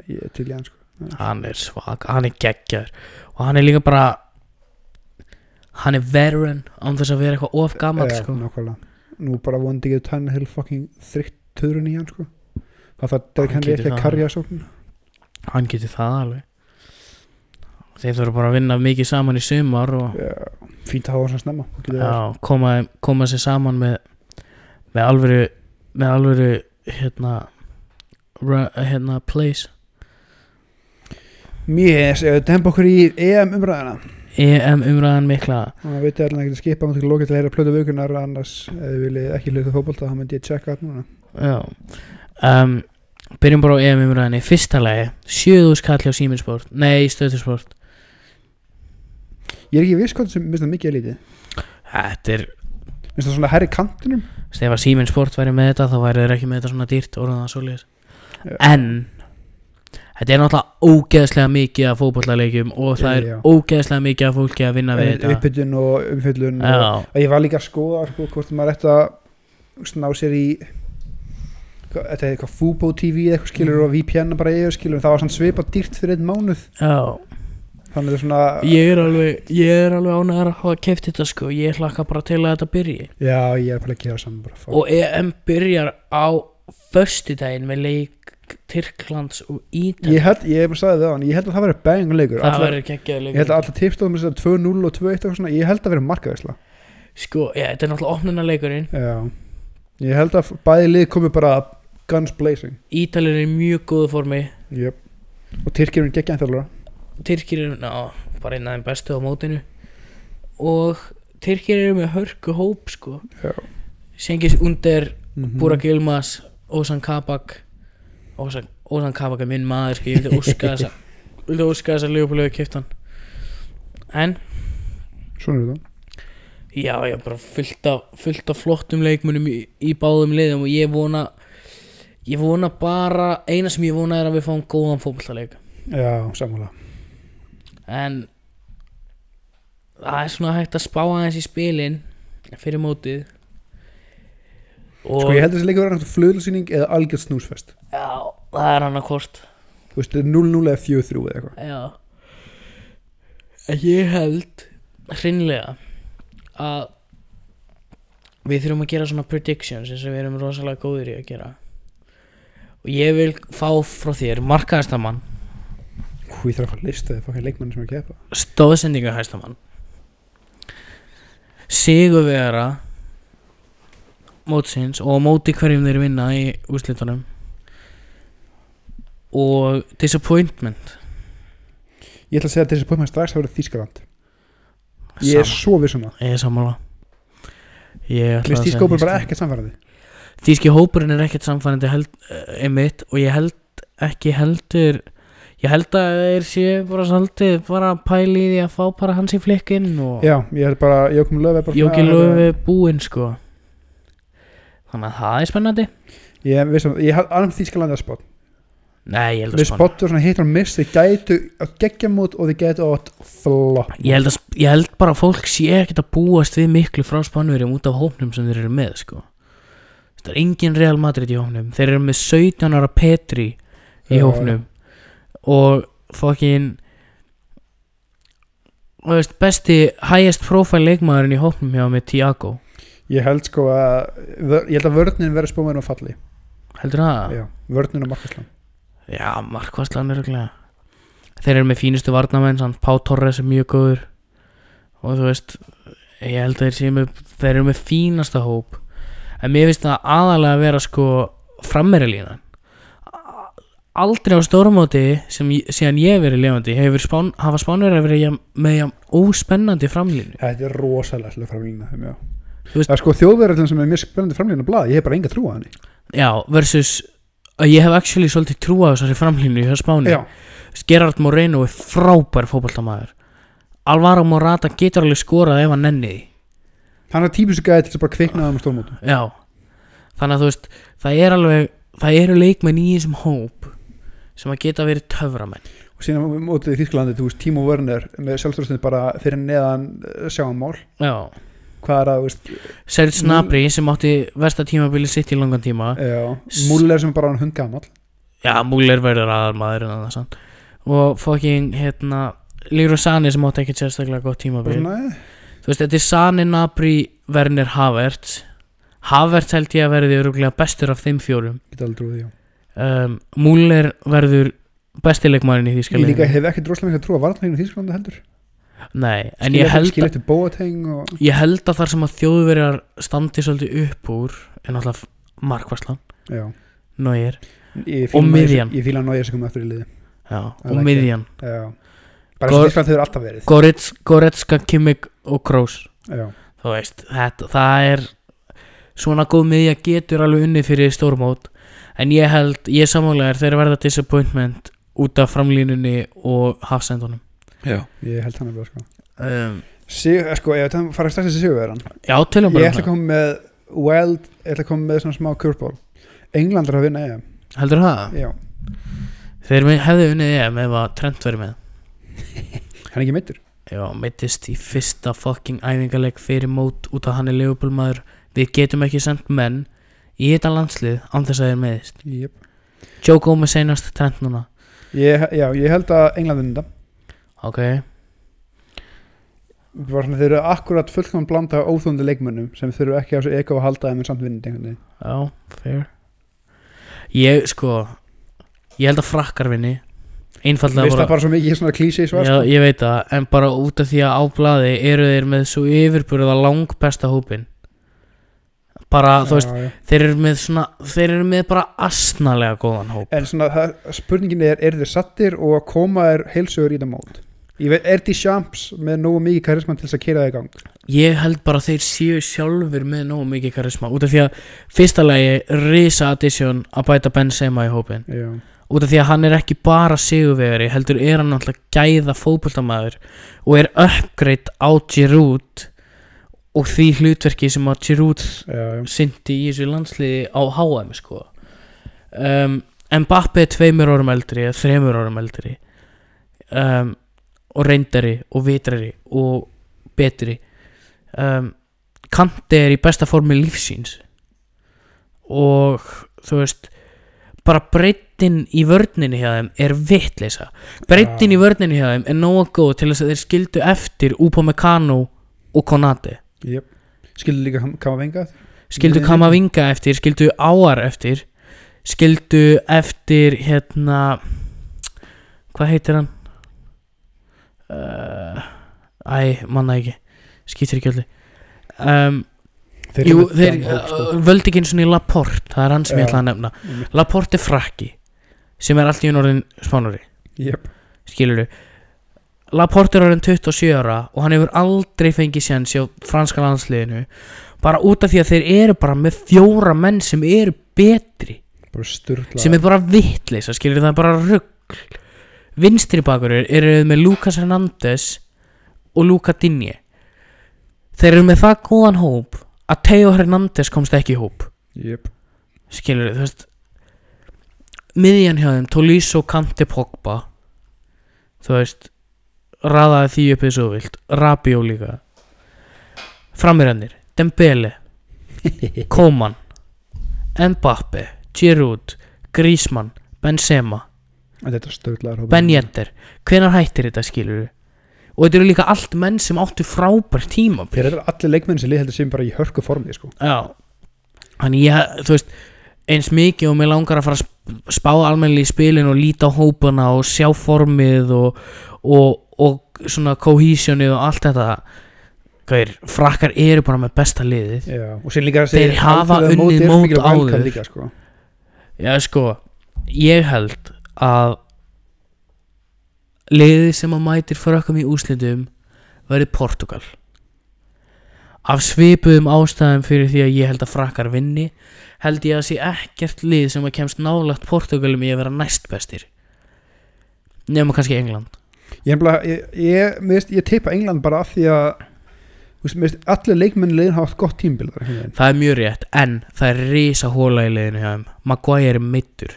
ég er til í hann sko Hann er svag, hann er geggjar og hann er líka bara hann er veteran án þess að vera eitthvað of gammal Já, sko. nákvæmlega Nú bara vonandi getur Tannehill fucking þrygt töðrun í hann sko Það þarf Hann Derrick Henry getur ekki að það. karja sókn Hann getur það alveg Þeir þurfa bara að vinna mikið saman í sumar og Fínt að hafa hans að snemma Þú getur það. Já, koma, koma sér saman með með alvöru með alvöru hérna ra- hérna place Mér yes, ef við dempa okkur í EM umræðina EM E umræðan mikla og það veit ég alveg ekki að skipa hann til lokið til að heyra plötu vökunar annars ef þið viljið ekki hluta fótbolta þá myndi ég checka það núna Já um, Byrjum bara á EM umræðan í fyrsta lagi Sjöðus kall hjá Siminsport Nei, stöðusport Ég er ekki viss hvað sem minnst það mikið er lítið Þetta er, minnst það svona herri kantinum ef að Siminsport væri með þetta þá væri þeir ekki með þetta svona dýrt orðan það svoleiðis Já. En Þetta er náttúrulega ógeðslega mikið af fótballaleikjum og það er Já. ógeðslega mikið af fólki að vinna við þetta uppbytun og umfyllun og, Já, og ég var líka að skoða sko, hvort maður ætti að ná sér í hvað- þetta er eitthvað Fubo TV eða Mhm. eitthvað skilur og VPN bara yfir skilur það var svona svipað dýrt fyrir einn mánuð já þannig þetta er svona Ég er alveg, ég er alveg ánægðar að hafa keft þetta sko, ég hlakka bara til að þetta byrji já ég er bara að gera saman bara fuck. og EM byrjar á föstudaginn með leik Tyrklands og Ítalíu ég held, ég sagði það á hann, ég held að það verið bangleikur það Allar- verður geggjaður ég held leikur að alltaf tipstóðum þess að 2-0 og 2-1 og eitthvað svona, ég held að verið markaðisla sko, já, þetta er náttúrulega opnuna leikurinn Já, ég held að bæði lið komi bara guns blazing Ítalíu er í mjög góðu formi yep. og Tyrkjum er geggjaðan þjálfara Tyrkir eru, ná, bara einn af þeim bestu á mótinu og Tyrkir eru með hörku hóp sko Já. Sengis Under, mm -hmm. Burak Yilmaz Ozan Kabak Ozan, Ozan Kabak er minn maður sko, ég vildi óska þess að vildi óska þess að Leopoldau kipta hann en Mhm. Svona er þetta já ég er bara fullt af, fullt af flottum leikmunum í, í báðum liðum og ég vona ég vona bara eina sem ég vona er að við fáum góðan fótballtaleik Já, sammála en það er svona hægt að spá aðeins í spilin fyrir mótið og Sko ég held að þessi leikur verður annars flöðlsýning eða algjörð snúsfest já, það er annað hvort Þú veist, þetta er 0-0 eða 4-3 eða eitthvað já En ég held hreinlega að við þurfum að gera svona predictions eins og við erum rosalega góðir í að gera og ég vil fá frá þér markaðastamann Hú, ég þarf að fara að lista þegar fokkar leikmann sem er að kepa stóðsendinga hæstamann sigurvegara mótsins og á móti hverjum þeir vinna í úrslitunum og disappointment Ég ætla að segja að þessi pöfum strax að vera þýskaland Ég er svo viss um það ég er sammála ég ætla Mér að finnst segja þýskópur bara Þýskaland. ekkert samfærandi þýski hópurinn er ekkert samfærandi held, eh, einmitt og ég held ekki heldur ég held að þeir séu bara svolítið bara að pæla í því að fá bara hans í flikkinn og Já, ég er bara, Jókum Löf er bara Jóki svona- Löfi búinn sko Þannig að það er spennandi Ég viss um það, ég held alveg þýskaland að spott Nei, ég held að Við spanna spottur svona hittur og miss Þeir gætu að gegja mút og þeir gætu átt flop ég held, að, sp- ég held bara að fólk sé ekkert að búast við miklu frá spannverjum út af hópnum sem þeir eru með sko Það er engin Real Madrid í hópnum Þeir eru með 17 ára Petri í Já, hópnum Og fokkin Þú veist, besti highest profile leikmaðurinn í hópnum hjá með Tiago Ég held sko að vör- Ég held að vörnin verður spómaður og falli Heldur það? Já, vörnin og markaslan Já, markvarslan er örgulega Þeir eru með fínustu varnamenn samt Pá Torres er mjög góður og þú veist ég held að þeir séu með þeir eru með fínasta hóp en mér finnst það aðalega að vera sko frammeri línan aldrei á stórmóti sem ég- síðan ég hef verið lefandi hefur spán, hafa spánverið verið jafn- með jafn óspennandi framlínu Þetta er rosalega slöf framlýna þeim, já. Þú veist- Það er sko þjóðverðin sem er mjög spennandi framlýna blað, ég hef bara enga trú að henni. já, versus að ég hef actually svolítið trúa þessari framlínu hjá spáni Já, Gerard Moreno er frábær fótboltamaður Alvaro Morata getur alveg skorað ef hann nenni því hann er típisk gæði til þess að bara kviknaða um stórmótum. Já Þannig að þú veist Það er alveg Það eru leikmenn í þessum hóp sem að geta verið töframenn Og síðan á mótið í Þýskalandi, þú veist, Timo Werner með sjálfstjórnstund bara fyrir neðan eh, sjáumál. Já Hvað er að, þú veist, Serge Snabri sem átti versta tímabili sitt í langan tíma já, Muller sem er bara hann hundgamall. Já, Múlir verður aðal maður en annað samt Og fucking hérna Líru Sani sem átti ekkert sérstaklega gott Bara tímabil svona, eh, Þú veist, þetta er Sani, Nabri, Werner, Havertz Havertz held ég að verði öruglega bestur af þeim fjórum geta alveg trúið, já. um, Múller verður bestileikmarin í Ég Þýskalandi líka hérna. hef ekkert rosalega mikið að trúa varnarleginu í Þýskalandi heldur. Nei, en Skil ég eftir- held, Skil eftir Boateng og, ég held að þar sem að þjóðverjar standi svolítið upp úr er náttúrulega markvarslan já. Nóir Ég fíla Og Neuer- miðjan. Ég fíla nája sem kom eftir í liði. já, og like miðjan Já. Bara Gor- sem Þýskaland hefur alltaf verið. Goretz, Goretzka, Kimmich og Kroos Já. þú veist, þetta, það er svona góð miðja getur alveg unni fyrir stórmót en ég held, ég sammálega er þeir verða disappointment út af framlínunni og hafsendunum Já. Ég held hann að sko. um, Sigur, sko, ég ætla að fara strax þessi sigurverðan Já, tölum Ég bara um ætla að koma með Wild, ég ætla að koma með svona smá curveball England er að vinna EM Heldur það? Já, Þeir mi- hefðu unnið EM ef að Trent verið með hann er ekki meittur Já, meittist í fyrsta fucking æfingarleik fyrir mót út að hann er legubólmaður Við getum ekki sendt menn í þetta landslið án þess að þeir meðist yep. Joe Gomez seinast Trent núna ég, Já, ég held að England vinna þetta Ok, Það var svona þeir eru akkurat fullkomum blanda af óþóndi leikmönnum sem þurfu ekki á þessu eko að halda þeim en samt vinna þetta einhvern veginn. já, fair Ég, sko, ég held að frakkar vinni Einfallega Mér finnst það bara svo mikið svona klísi svar sko. Já, ég veit það, en bara út af því að á blaði eru þeir með svo yfirburða langbesta hópin Bara, þú veist, já. Þeir eru með svona Þeir eru með bara asnalega góðan hóp En svona það, spurningin er, eru þeir sattir og koma þeir heilsugur í það mót Ég veit, er Deschamps með nógu mikið karisman til þess að kýra það í gang Ég held bara að þeir séu sjálfur með nógu mikið karisma út af því að fyrsta lagi risa addition að bæta Benzema í hópin Já, út af því að hann er ekki bara sigurvegari heldur er hann náttúrulega gæða fótboltamaður og er uppgreitt á Giroud og því hlutverki sem að Giroud já, já, syndi í þessu landsliði á HM sko um, Mbappi er tveimur árum eldri eða þremur árum eldri um, og reyndari og vitrari og betri um, Kanti er í besta formi lífsíns og þú veist bara breyttin í vörninni hjá þeim er vitleisa breyttin Já. í vörninni hjá þeim er nóga góð til þess að þeir skildu eftir Upamecano og Konate jöp Skilur líka kama venga skildu Nei. Kamavinga eftir, skildu Áar eftir skildu eftir hérna hvað heitir hann uh, æ, manna ekki skýtir ekki öllu um, Þeir jú, eru með þeir þann hóp, sko. uh, völdu ekki eins og niður Laporte, það er hann sem ég Já. ætla að nefna Einmitt. Laporte er frakki sem er allt í unorðin spánari Jöp, skilur du Laporte er orðin 27 ára og hann hefur aldrei fengið séns hjá franska landsliðinu bara út af því að þeir eru bara með fjóra menn sem eru betri bara sturla sem er bara vittleisa skilur það er bara rugg vinstri bakurur eru þeir með Lucas Hernandez og Luca Digne þeir eru með það góðan hóp að Teo Hernandez komst ekki í hóp Jöp, skilur þú veist miðjan hjá þeim, Tolisso, Kante, Pogba þú veist raðaði því upp eins og þú vilt Rabió líka framirannir, Dembele Koman Mbappe, Giroud Griezmann, Benzema en þetta er sturlaðar hópur. Ben Yedder, hvenar hættir þetta skilur og þetta eru líka allt menn sem áttu frábær tíma Þeir eru allir leikmenn sem liðheldur sem bara í hörku formi sko. Já Þannig ég, þú veist eins mikið og mér langar að fara að sp- spá almennilega í spilin og líta á hópana og sjá formið og, og, og svona cohesionið og allt þetta Hver, frakkar eru bara með besta liðið Já, og sér líka að Þeir hafa unnið mót áður. líka, sko. Já sko, ég held að liðið sem að mætir frökkum í úslitum verið Portugal af svipuðum ástæðum fyrir því að ég held að frakkar vinni held ég að sé ekkert lið sem að kemst nálagt Portugalum í að vera næst bestir nema kannski England Ég, nefnilega- ég, ég, mér finnst- ég tippa England bara af því að þú veist, mér finnst allir leikmenn liðin hafa haft gott tímbil þar, einhvern veginn. það er mjög rétt en það er risa hóla í liðinu hjá þeim Maguire er middur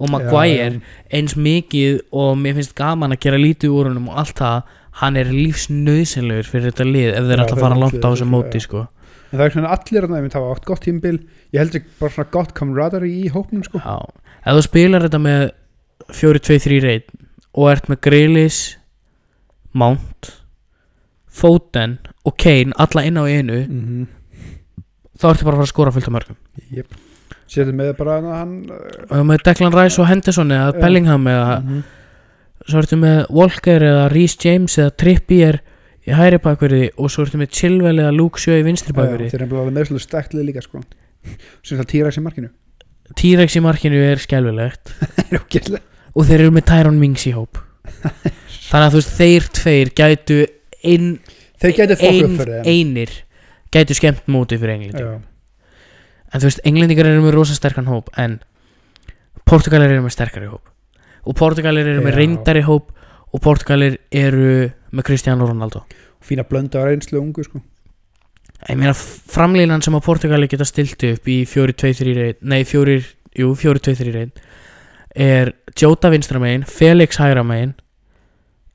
og Maguire Já, eins mikið og mér finnst gaman að gera lítið úr honum og allt það hann er lífsnauðsynlegur fyrir þetta lið ef þeir ætla Já, að fyrir fara langt á landslið, þessu móti sko. en það er svona allir að það hafa haft gott tímbil ég held ekki bara svona gott kamradari í hópnum sko. Já. ef þú spilar þetta með 4-2-3 reit og ert með Grealis Mount Foden og Kane alla inn á einu mm -hmm. þá ertu bara að fara að skora fullt af mörgum yep. Sétum með bara hana, hann og ef með Declan Rice og Henderson eða Já. Bellingham eða mm -hmm. svo ertu með Walker eða Reece James eða Trippier í hæri bakverði og svo ertu með Chilwell eða Luke Sjö í vinstri bakverði þeir eru bara alveg með svolítið stækt lið líka sko. sem það týra sem markinu T-Rex í markinu er skelvilegt er ógeðslega. og þeir eru með Tyrone Mings í hóp þannig að þú veist þeir tveir gætu ein, þeir getur fokk upp ein, fyrir þeim einir gætu skemmt mótið fyrir englendingar Já. en þú veist englendingar eru með rosa sterkan hóp en portugalir eru með sterkari hóp og portugalir eru með Já. reyndari hóp og portugalir eru með Cristiano Ronaldo fína blönda á reynslu ungu sko. ég meina framlínan sem að Portugali geta stilt upp í 4-2-3 reynd nei 4, jú 4-2-3 reynd er Jota vinstra megin Felix hægra megin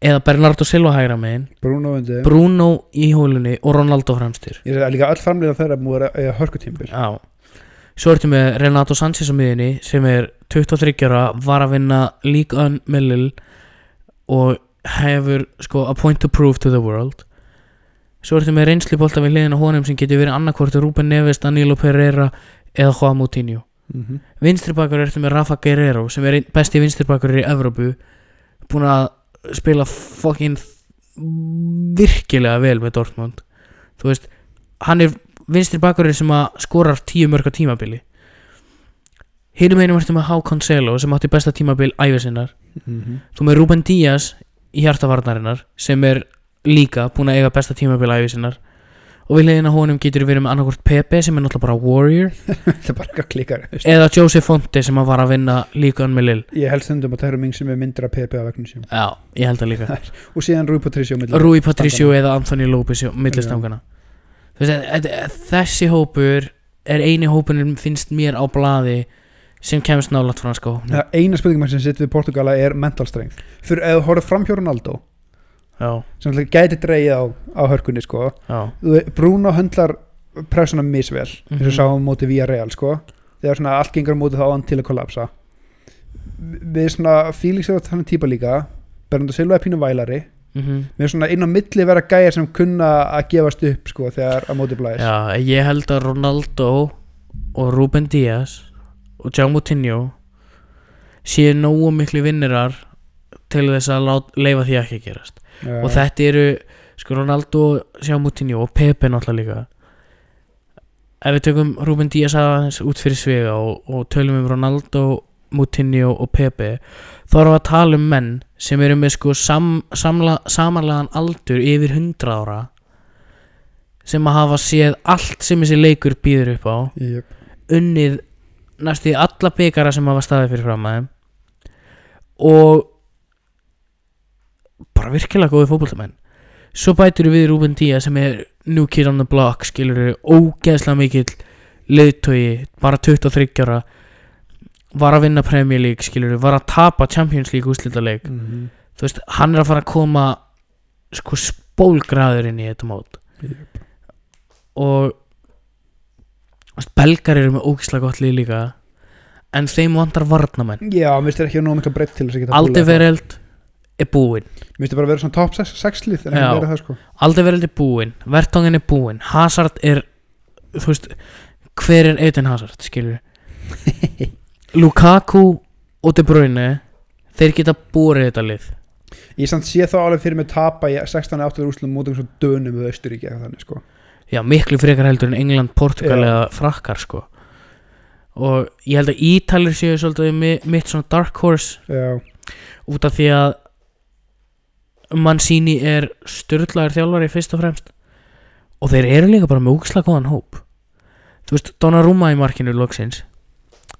eða Bernardo Silva hægra megin Bruno undir þeim. Bruno í hólunni og Ronaldo framstyr ég er líka öll framlega þeirra múið að eiga hörku tímbil já svo ertu með Renato Sanchez á miðinni sem er 23 ára var að vinna League on með Lille og hefur sko a point to prove to the world svo ertu með reynsli bólta við hliðina á honum sem getur verið annarkvort Ruben Neves, Danilo Pereira eða Juan Moutinho mm Mhm, -hmm. vinstribakur ertu með Rafa Guerrero sem er einn besti vinstribakur í Evrópu búin að spila fokkin virkilega vel með Dortmund þú veist, hann er vinstribakur sem að skorar tíu mörg á tímabili hinum einum ertu með Hákon Selo sem átti besta tímabil æfisinnar Mm -hmm. þú með Ruben Díaz hjartavarnarinnar sem er líka búin að eiga besta tímabila æfi sinnar og við leiðina honum getur verið með annarkvort Pepe sem er náttúrulega bara Warrior það er bara eitthvað klikkar þú veist. eða Joseph Fonte sem að var að vinna líka hann með Lil ég held stundum að Tæru Ming sem er myndir að PP af vegna sínum Já, ég held það líka og síðan Rúi Patricio á milli. Rui Patricio eða Anthony Lopez í millistangana Þú veist, þetta- þetta- þessi hópur er eini hópunum finnst mér á blaði sem kemst nálat franska hópnum Það eina spurningum sem sitt við Portugala er mental strength fyrir ef þú horfður fram hjá Ronaldo Já, sem alltaf gæti dreigið á, á hörkunni sko. já, Þú ve- Bruno höndlar pressuna misvel eins og Mhm. sáum móti via Real sko. þegar svona allt gengur á móti þá á hann til að kollapsa við svona Felix er þannig típa líka Bernardo Silva er pínu vælari mhm við svona inn á milli vera gæjar sem kunna að gefast upp sko þegar að móti blæðis Já, ég held að Ronaldo og Ruben Díaz og Jao Moutinho séu nógu miklu vinnirar til þess að lát, leifa því ekki að gerast Já. og þetta eru sko Ronaldo, Jao Moutinho og Pepe náttúrulega líka ef við tökum Ruben Díaz aðeins út fyrir sviga og, og tölum um Ronaldo Moutinho og Pepe þá erum við að tala um menn sem eru með sko sam, samla, samanlegan aldur yfir 100 ára sem að hafa séð allt sem þessi leikur býður upp á Jöp. unnið næstu í alla byggara sem hafa staðið fyrir fram að þeim og bara virkilega góði fótboltamenn svo bætur við Ruben Díaz sem er new kid on the block skilur við ógeðslega mikill leiðtogi, bara 23 ára var að vinna Premier League skilur við, var að tapa Champions League úrslitaleik Mhm. þú veist, hann er að fara að koma sko spólgraður inn í þetta mót Jöp. og þú veist, belgar eru með ógislega gott lið líka en þeim vantar varnamenn Já, mér styrir ekki nóg mikla breytt til þess að geta Aldi verið Vereld er búinn Mér styrir bara að vera svona top 6 lið en Já. ekki vera það sko Aldi Vereld er búinn, Vertongin er búinn Hazard er þú veist, hver er Eden Hazard skilur Lukaku og De Bruyne þeir geta búið þetta lið Ég samt sé þá alveg fyrir mig tapa í 16-8 úrslutum mútum svo dönum við Östuríki eða þannig sko Já, miklu frekar heldur en England, Portugal Já. eða frakkar sko og ég held að Ítalir séu svolítið mi- mitt svona dark horse Já, út af því að Mancini er styrlaður þjálfari fyrst og fremst og þeir eru líka bara með úksla góðan hóp þú veist, Donnarumma í markinu loksins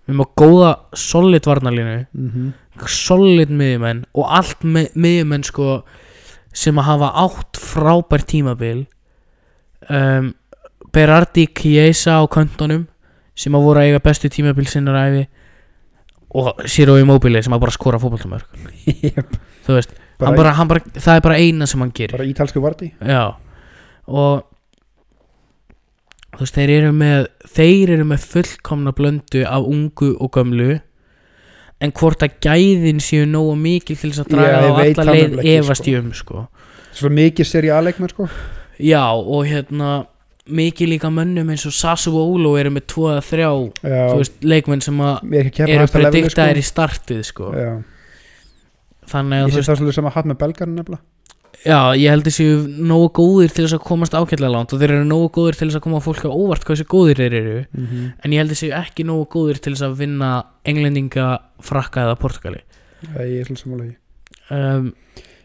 við erum að góða solid varnalínu mm -hmm. solid miðjumenn og allt mi- miðjumenn sko sem að hafa átt frábær tímabil um, Berardi Kiesa á köntunum sem að voru að eiga bestu tímabil sinnar æfi og Siro Immobile sem að bara skora fótballtumörk þú veist, bara, hann bara, hann bara, það er bara eina sem hann gerir bara ítalsku varti Já og þú veist þeir eru með þeir eru með fullkomna blöndu af ungu og gömlu en hvort að gæðin séu nógu mikil til þess að draga Já, ég þá veit alla það leið nefnilega ekki, efast sko. ég um sko Svo mikið seriáleikmenn sko Já og hérna mikið líka mönnum eins og Sasu og Ólo eru með tvo eða þrjá Já, þú veist leikmenn sem að ég er ekki að kepa eru hæsta lefni sko prediktaðir í startið sko Já, þannig ég að sé þú veist það svolítið sem að hatt með belgarinn nefnilega já ég held þessi nógu góðir til þess að komast ákjærlega langt og þeir eru nógu góðir til þess að koma fólk á óvart hversu góðir þeir eru mm -hmm. en ég held þessi ekki nógu góðir til þess að vinna englendinga, frakka eða portugali Ég er svolítið samanlega í um,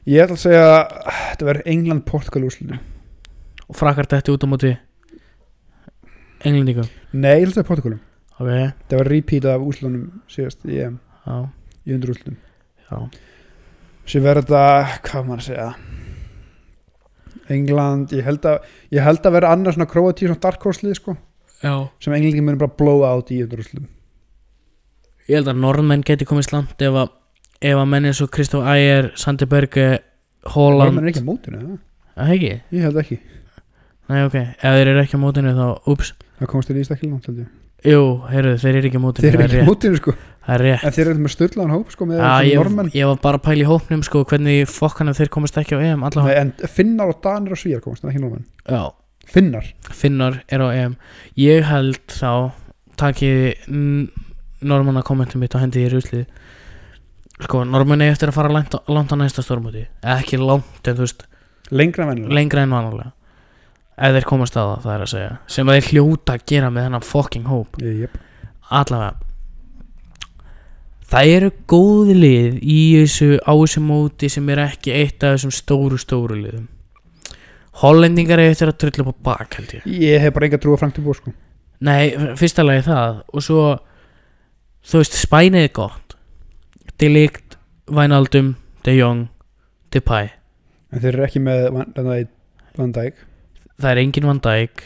Ég ætla að segja að þetta verður England-Portugal úrslutum og frakkar þetta út á móti englendingum Nei, ég ætla að segja Portugalum ok, já, Þetta var repeat af úrslutunum síðast í, EM, í undir úrslutum já. sem verða, hvað á maður að segja England ég held að, ég held að vera annars svona Kroatíu svona dark horse lið sko já sem englingin muni bara blow out í undurúslum ég held að norðmenn geti komist langt ef að, ef að menn eins og Kristof Æger, Sandi Berge Norman Holland, er ekki á mótinu, eða? að ekki ég held ekki nei ok, ef þeir eru ekki á mótinu þá, ups það komst þér í stakil langt held ég jú, heyrðu, þeir eru ekki á mótinu þeir eru það er ekki á rétt, mótinu sko það er rétt. en þeir eru með styrlaðan hóp sko með Já, ja, ég, norman ég var bara að pæla í hópnum sko, hvernig fokkana þeir komast ekki á EM allavega, Nei, en finnar og danir og svíjar komast en ekki norman já finnar finnar er á EM ég held þá takiði normanna kommentum mitt og hendi í ruslið sko, normanna eftir að fara langt, langt á næsta stórmóti Eða ekki langt en þú veist lengra en venjulega lengra en vanalega ef þeir komast að það, það er að segja sem að þeir hljóta að gera með þennan fucking hóp Jep. allavega það eru góð lið í þessu á þessu móti sem er ekki eitt af þessum stóru stóru liðum Hollendingar er eftir að trölla upp á bak held ég Ég hef bara enga trú á Frank de Boer sko Nei, f- fyrsta lagi það og svo þú veist, spænið er gott De Ligt, Vænaldum De Jong, Depay En þeir eru ekki með Van, Van Dijk- Van Dijk það er engin Van Dijk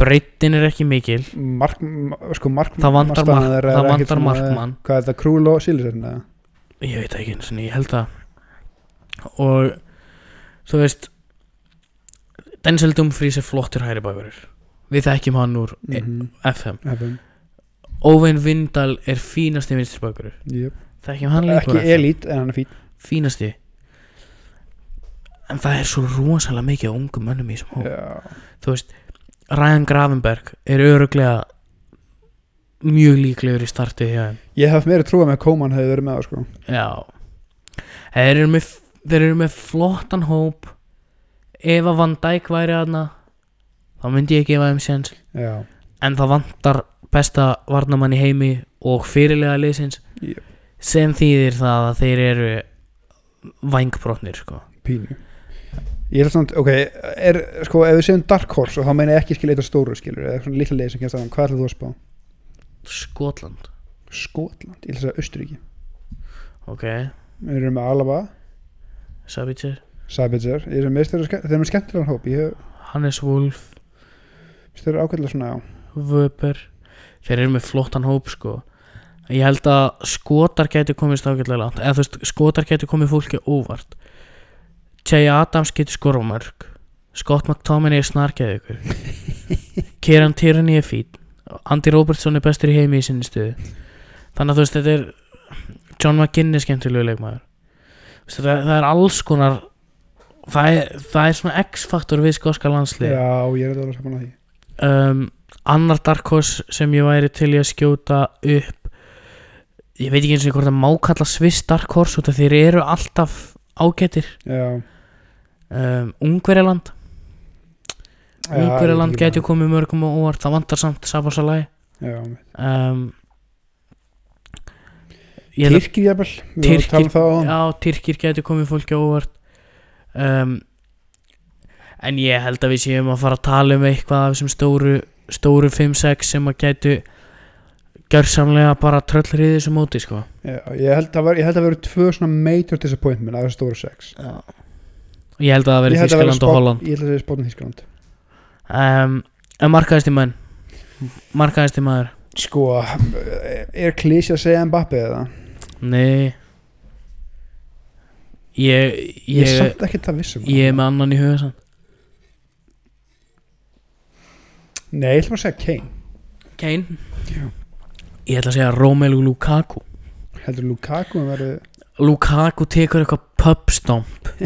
breytin er ekki mikil Mark, ma- sko Mark það vantar, markstaðan mark, þeirra er það ekkert vantar svona- markmann Hvað er þetta, Krúl og hérna? Silisen eða? ég veit það ekki eins og ég held það og þú veist Denzel Dumfries er flottur hæri bakurur við þekkjum hann úr mm. Mhm, FM FM, Owen Vindal er fínasti vinstri bakurur jöp. þekkjum hann líka úr Ekki elít en hann er fín fínasti en það er svo rosalega mikið af ungum mönnum í þessum hóp Já. þú veist Ryan Gravenberg er öruglega mjög líklegur í startið hjá þeim Ég hef meira trúið með að Koman hefði verið með það sko já þeir eru með, þeir eru með flottan hóp ef að Van Dijk væri aðna þá myndi ég gefa þeim séns Já, en það vantar besta varnamann í heimi og fyrirlega liðsins Jep. sem þýðir það að þeir eru vangbrotnir sko pínu Ég held samt, ok, er, sko, ef við segjum Dark Horse og þá meina ég ekki skil eitthvað stóru skilur eða svona lilla leið sem kemst aðan, hvað ætlaðu þú að spá? Skotland Skotland, ég ætla að segja Östuríki ok, Við erum með Alaba, Sabitzer, Sabitzer Ég er sem meðst þeirra, þeir eru með skemmtilegan hóp Ég hef, Hannes Wolf þeir eru ákveðlega svona, já Vöper þeir eru með flottan hóp sko ég held að skotar gæti komist ágætlega langt eða þú veist skotar gæti komið fólki óvart Jay Adams getur skorað mörg Scott McTominay er snarkæði ykkur Kieran Tierney er fín Andy Robertson er bestur í heimi í sinni stuðu þannig að þú veist þetta er John McGinn er skemmtilegu leikmaður Þú veist, það, það er alls konar það er, það er svona X-faktor við skoska landslið Já, ég er þetta alveg saman að því um, annar Dark Horse sem ég væri til í að skjóta upp ég veit ekki eins og hvort það má kalla Swiss Dark Horse út af þeir eru alltaf ágætir Já, um, Ungverjaland Já, ég Ungverjaland veit ekki gæti með komið mörgum og óvart það vantar samt Sabasalai það. Já, með- um, ég held að- Tyrkir jafnvel, við vorum að tala um það á hann já, Tyrkir gæti komið fólki á óvart um, en ég held að við séum að fara að tala um eitthvað af þessum stóru, stóru 5-6 sem að gætu gjörsamlega bara tröllriði þessu móti sko. Já, ég held að vera, vera tvö svona major disappointment að það stóru sex ég held að það veri Ég held að Þískaland og Spán- Holland Ég held að það verið Spotn Þískaland um, en markaðist í menn markaðist í maður Sko, er klísi að segja Mbappi eða? nei ég Ég er ég, samt ekki það vissum ég er með annan í huga samt. Nei, ég ætlum að segja Kane Kane Já. ég ætla að segja Romelu Lukaku Heldur Lukaku að verði Lukaku tekur eitthvað pubstomp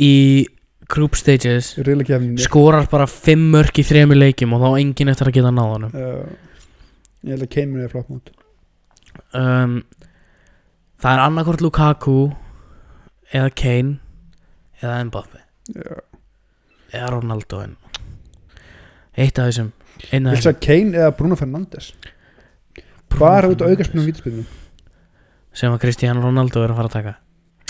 í group stages reyla kefni skorar bara fimm mörk í þremur leikjum og þá á enginn eftir að geta náð honum uh, Ég held að Kane muni að floppa út um, það er annarkort Lukaku eða Kane eða Mbappe Já. eða Ronaldo en eitt af þessum einn af Ég ætla að þessum segja Kane eða Bruno Fernandes Bara út á aukaspunum vítaspinnum sem að Cristiano Ronaldo er að fara að taka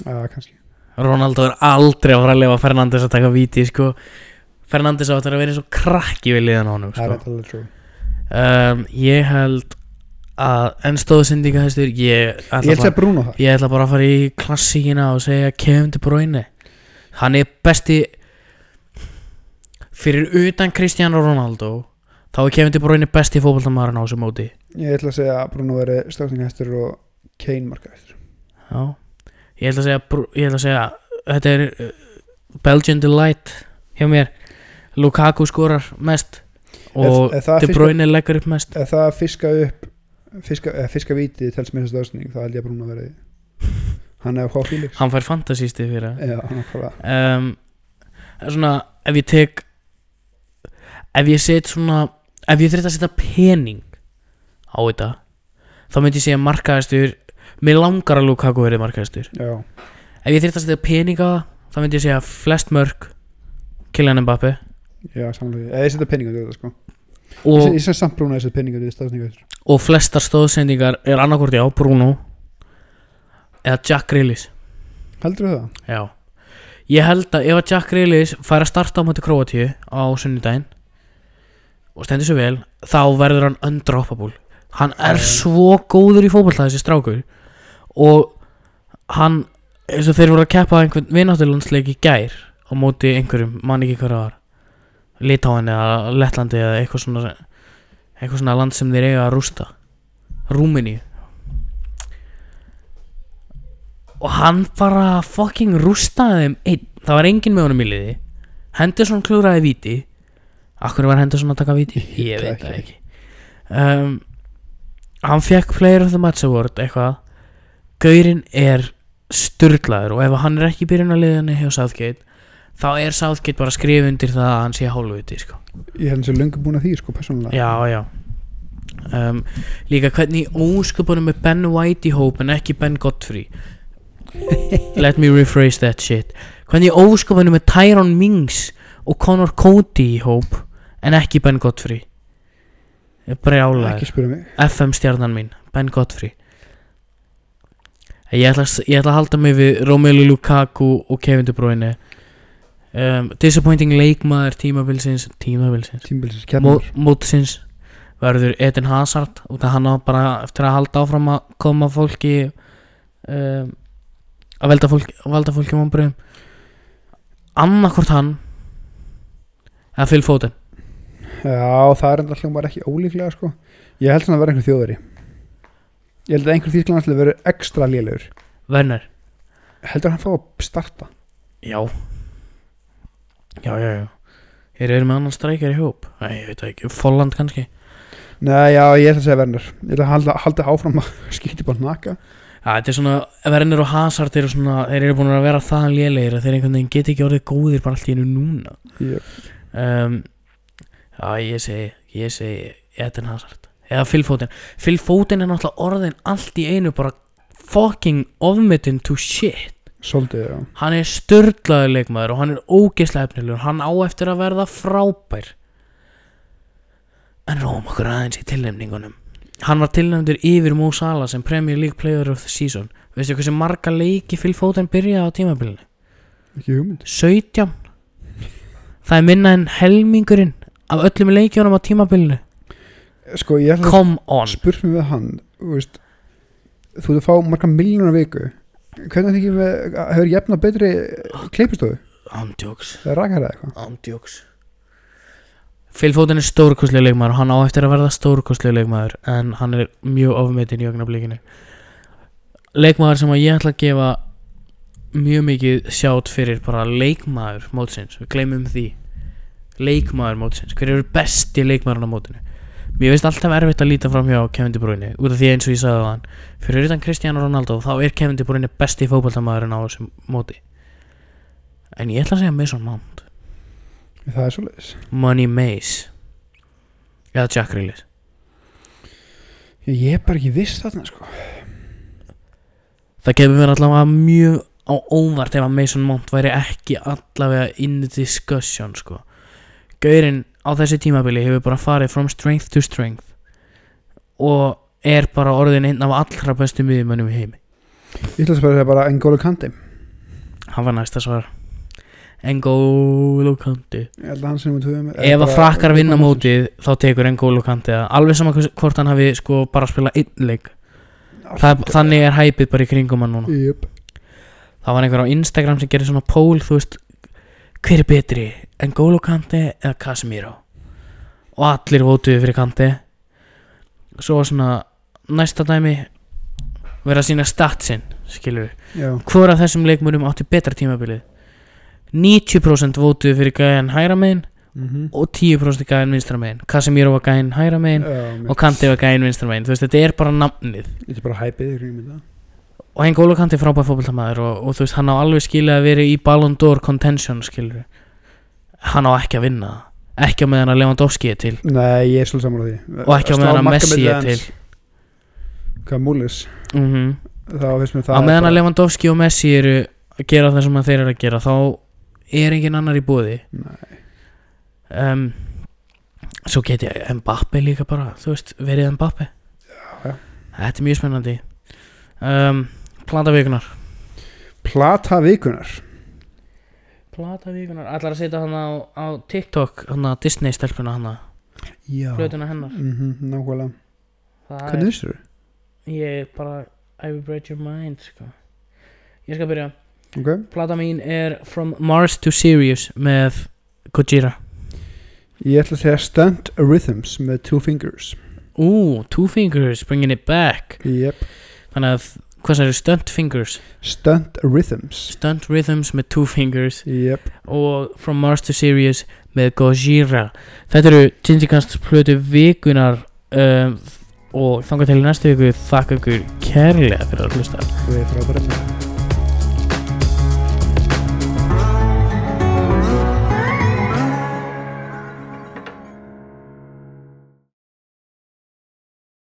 Já, Ah, kannski Sko. Ronaldo er aldrei að fara að lifa Fernandes að taka víti sko Fernandes áttur að vera eins og krakki við liðan á honum Það er sko. þetta alveg trú um, Ég held að enn stóðu syndingahestur ég Ég ætla, held að bara, segja Bruno þar ég ætla bara að fara í klassíkina og segja Kevin De Bruyne Hann er besti fyrir utan Cristiano Ronaldo þá er Kevin De Bruyne besti fótboltamarinn á þessu móti Ég ætla að segja að Bruno veri strákningahæstur og Kane markahæstur Já. Ég ætla að segja, Bru- ég ætla að segja þetta er uh, Belgian Delight hjá mér Lukaku skorar mest og ef það De fiskar- Bruyne leggur upp mest Ef það fiska upp fiska, eða fiska vítið telst með þessu stöðsning þá held ég að Bruno veri Hann hefur hvað fílíks hann fær fantasístið fyrir það Já, hann er hvað um, svona ef ég tek ef ég set svona ef ég þurft að setja pening á þetta þá myndi ég segja markaðistur mér langar að Lukaku verið markaðistur Já, ef ég þurft að setja pening á það þá myndi ég segja flest mörg Kylian Mbappe já, samlega Eða ég setja penninga til þetta sko og, Ég sem samt brúna þessu penningur í staðsningu þessu og flestar stóðsendingar er annarkvort já, Bruno eða Jack Grealish Heldur það? Já Ég held að ef að Jack Grealish fær að starta á móti Króatíu á sunnudaginn og stendur svo vel þá verður hann undroppable Hann er Já. svo góður í fótbolta þessi strákur og hann eins og þeir voru að keppa einhvern vináttulandsleik í gær á móti einhverjum, mann ekki hverja var Litáin eða Lettlandi eða eitthvað svona eitthvað svona land sem þeir eiga að rústa Rúmini og hann bara fucking rústaði þeim einn það var enginn með honum í liði Henderson klúraði viti Akkur var Henderson að taka viti? Ég Ég veit veit það ekki um, Hann fekk Player of the Match Award eitthvað Gaurinn er sturglaður og ef hann er ekki byrjun að liðinni hjá Southgate þá er Southgate bara að skrifa undir það að hann sé hálfviti sko. Ég held þessu löngu búin að því sko persónulega Já, já um, Líka hvernig í ósköpunum er Ben White í hóp en ekki Ben Godfrey Let me rephrase that shit Hvernig í ósköpunum er Tyrone Mings og Connor Cody í hóp en ekki Ben Godfrey Brjálæður Ekki spyrja mig FM stjarnan mín, Ben Godfrey ég ætla, ég ætla að halda mig við Romelu Lukaku og Kevin De Bruyne um, Disappointing leikmaður tímabilsins tímabilsins Tímbilsins Mó- kemur mótsins verður Eden Hazard út að hann á bara eftir að halda áfram að koma fólki um, að velda fólki, velda fólki vombriðum annarkvort hann eða Phil Foden Já, það er enda alltaf bara ekki ólíklega sko Ég held svona að vera einhver þjóðveri Ég held að einhver þýrklandanslega verið ekstra lélegur Werner Heldur hann fá að starta? já já, já, já Þeir eru með annan streikar í hóp Nei, ég veit það ekki, Folland kannski Nei, já, ég ætla að segja verðnur Ég ætla að halda, halda áfram að skýti bara naka Já, þetta er svona, Werner og Hazard eru svona, þeir eru búin að vera það lélegir að þeir einhvern veginn get ekki orðið góðir bara allt í einu núna Ég, um, Já, ég segi Ég segi Eden Hazard Eða Phil Foden Phil Foden er náttúrulega orðin allt í einu bara fucking ofmyndin to shit Svolítið, já Hann er störlaður leikmaður og hann er ógeðslega efnilegur Hann á eftir að verða frábær En róm okkur aðeins í tilnefningunum Hann var tilnefndur yfir Mo Salah sem Premier League Player of the Season Veistu hversu marga leiki Phil Foden byrjaði á tímabilinu? Ekki hugmynd 17 Það er minna en helmingurinn af öllum leikjónum á tímabilinu Sko, ég ætla Come on að spurt mig við hann Þú veist Þú ert að fá marga miljónar viku Hvernig þykir við Hefur jefna betri kleipistofu? Andjóks Það er rakar eða eitthvað Andjóks Phil Foden er stórkostlega leikmaður og hann á eftir að verða stórkostlega leikmaður en hann er mjög ofmetinn í augnablikinu Leikmaður sem að ég ætla að gefa mjög mikið sjátt fyrir bara leikmaður mótsins, við gleymum því leikmaður mótsins, hver eru besti leikmaðurinn á mótinu Mér finnst alltaf erfitt að líta fram hjá Kevin De Bruyne út af því eins og ég sagði á hann fyrir utan Cristiano Ronaldo þá er Kevin De Bruyne besti fótballtamaðurinn á þessum móti en ég ætla að segja Mason Mount Það er svolítið Money Maze eða Jack Grealish Ég er bara ekki viss þarna, sko það kemur mér allavega mjög á óvart ef að Mason Mount væri ekki allavega in the discussion sko. Gaurinn á þessi tímabili hefur bara farið from strength to strength og er bara orðin einn af allra bestu miðjumönnum í heimi Ég ætla að spyrja bara N'Golo Kante hann var næsta svar N'Golo Kante Ég held að hann sem við töfum ef að frakkar vinna mótið þá tekur N'Golo Kante það. alveg sama hvers- hvort hann hafi sko bara spilað einn leik Það, þannig er hæpið bara í kringum hann núna Jöp það var einhver á Instagram sem gerir svona pól þú veist, hver er betri N'Golo Kante eða Casemiro og allir votuðu fyrir Kante svo var svona næsta dæmi vera að sína statsinn, skilur við Já hvora þessum leikmönnum átti betra tímabilið 90% votuðu fyrir gæðan hæra megin Mhm. og 10% gæðan vinstra megin Casemiro var gæðan hæra megin Já, mitt. og Kante var gæðan vinstra megin þú veist, þetta er bara namnið Þetta er bara hæpið í kringum þetta og hengi Óla Kanti frábæð fótboltamaður og, og þú veist, hann á alveg skilið að vera í Ballon d'Or contention, skilur hann á ekki að vinna það ekki á meðan að Lewandowski er til Nei, ég er svolítið saman á því og ekki á Slá meðan að markametið Messi er til hans. Hvað múlis mm Þá finnst mér á það meðan að Lewandowski og Messi eru að gera það sem að þeir eru að gera þá er engin annar í bóði Nei. um, svo geti Mbappe líka bara þú veist, verið Mbappe já. þetta er mjög spennandi um, platavíkunar Plata vikunar platavíkunar, allar að setja hann á, á TikTok, hann að Disney stelpuna hann að, Já flötuna hennar mm Nákvæmlega Það er- Hvernig vissur ég bara, I will break your mind sko. ég skal byrja Ok plata mín er From Mars to Sirius með Gojira Ég ætla að segja Stunt Rhythms með Two Fingers Ú, Two Fingers, bringing it back Yep Þannig að, hvað særi, Stunt Fingers Stunt Rhythms Stunt Rhythms með Two Fingers Yep og From Mars to Sirius með Gojira Þetta eru Tinsikast plötu vikunar um, og þangað til í næstu viku þakka ykkur kærlega fyrir að hlusta Þú er frábært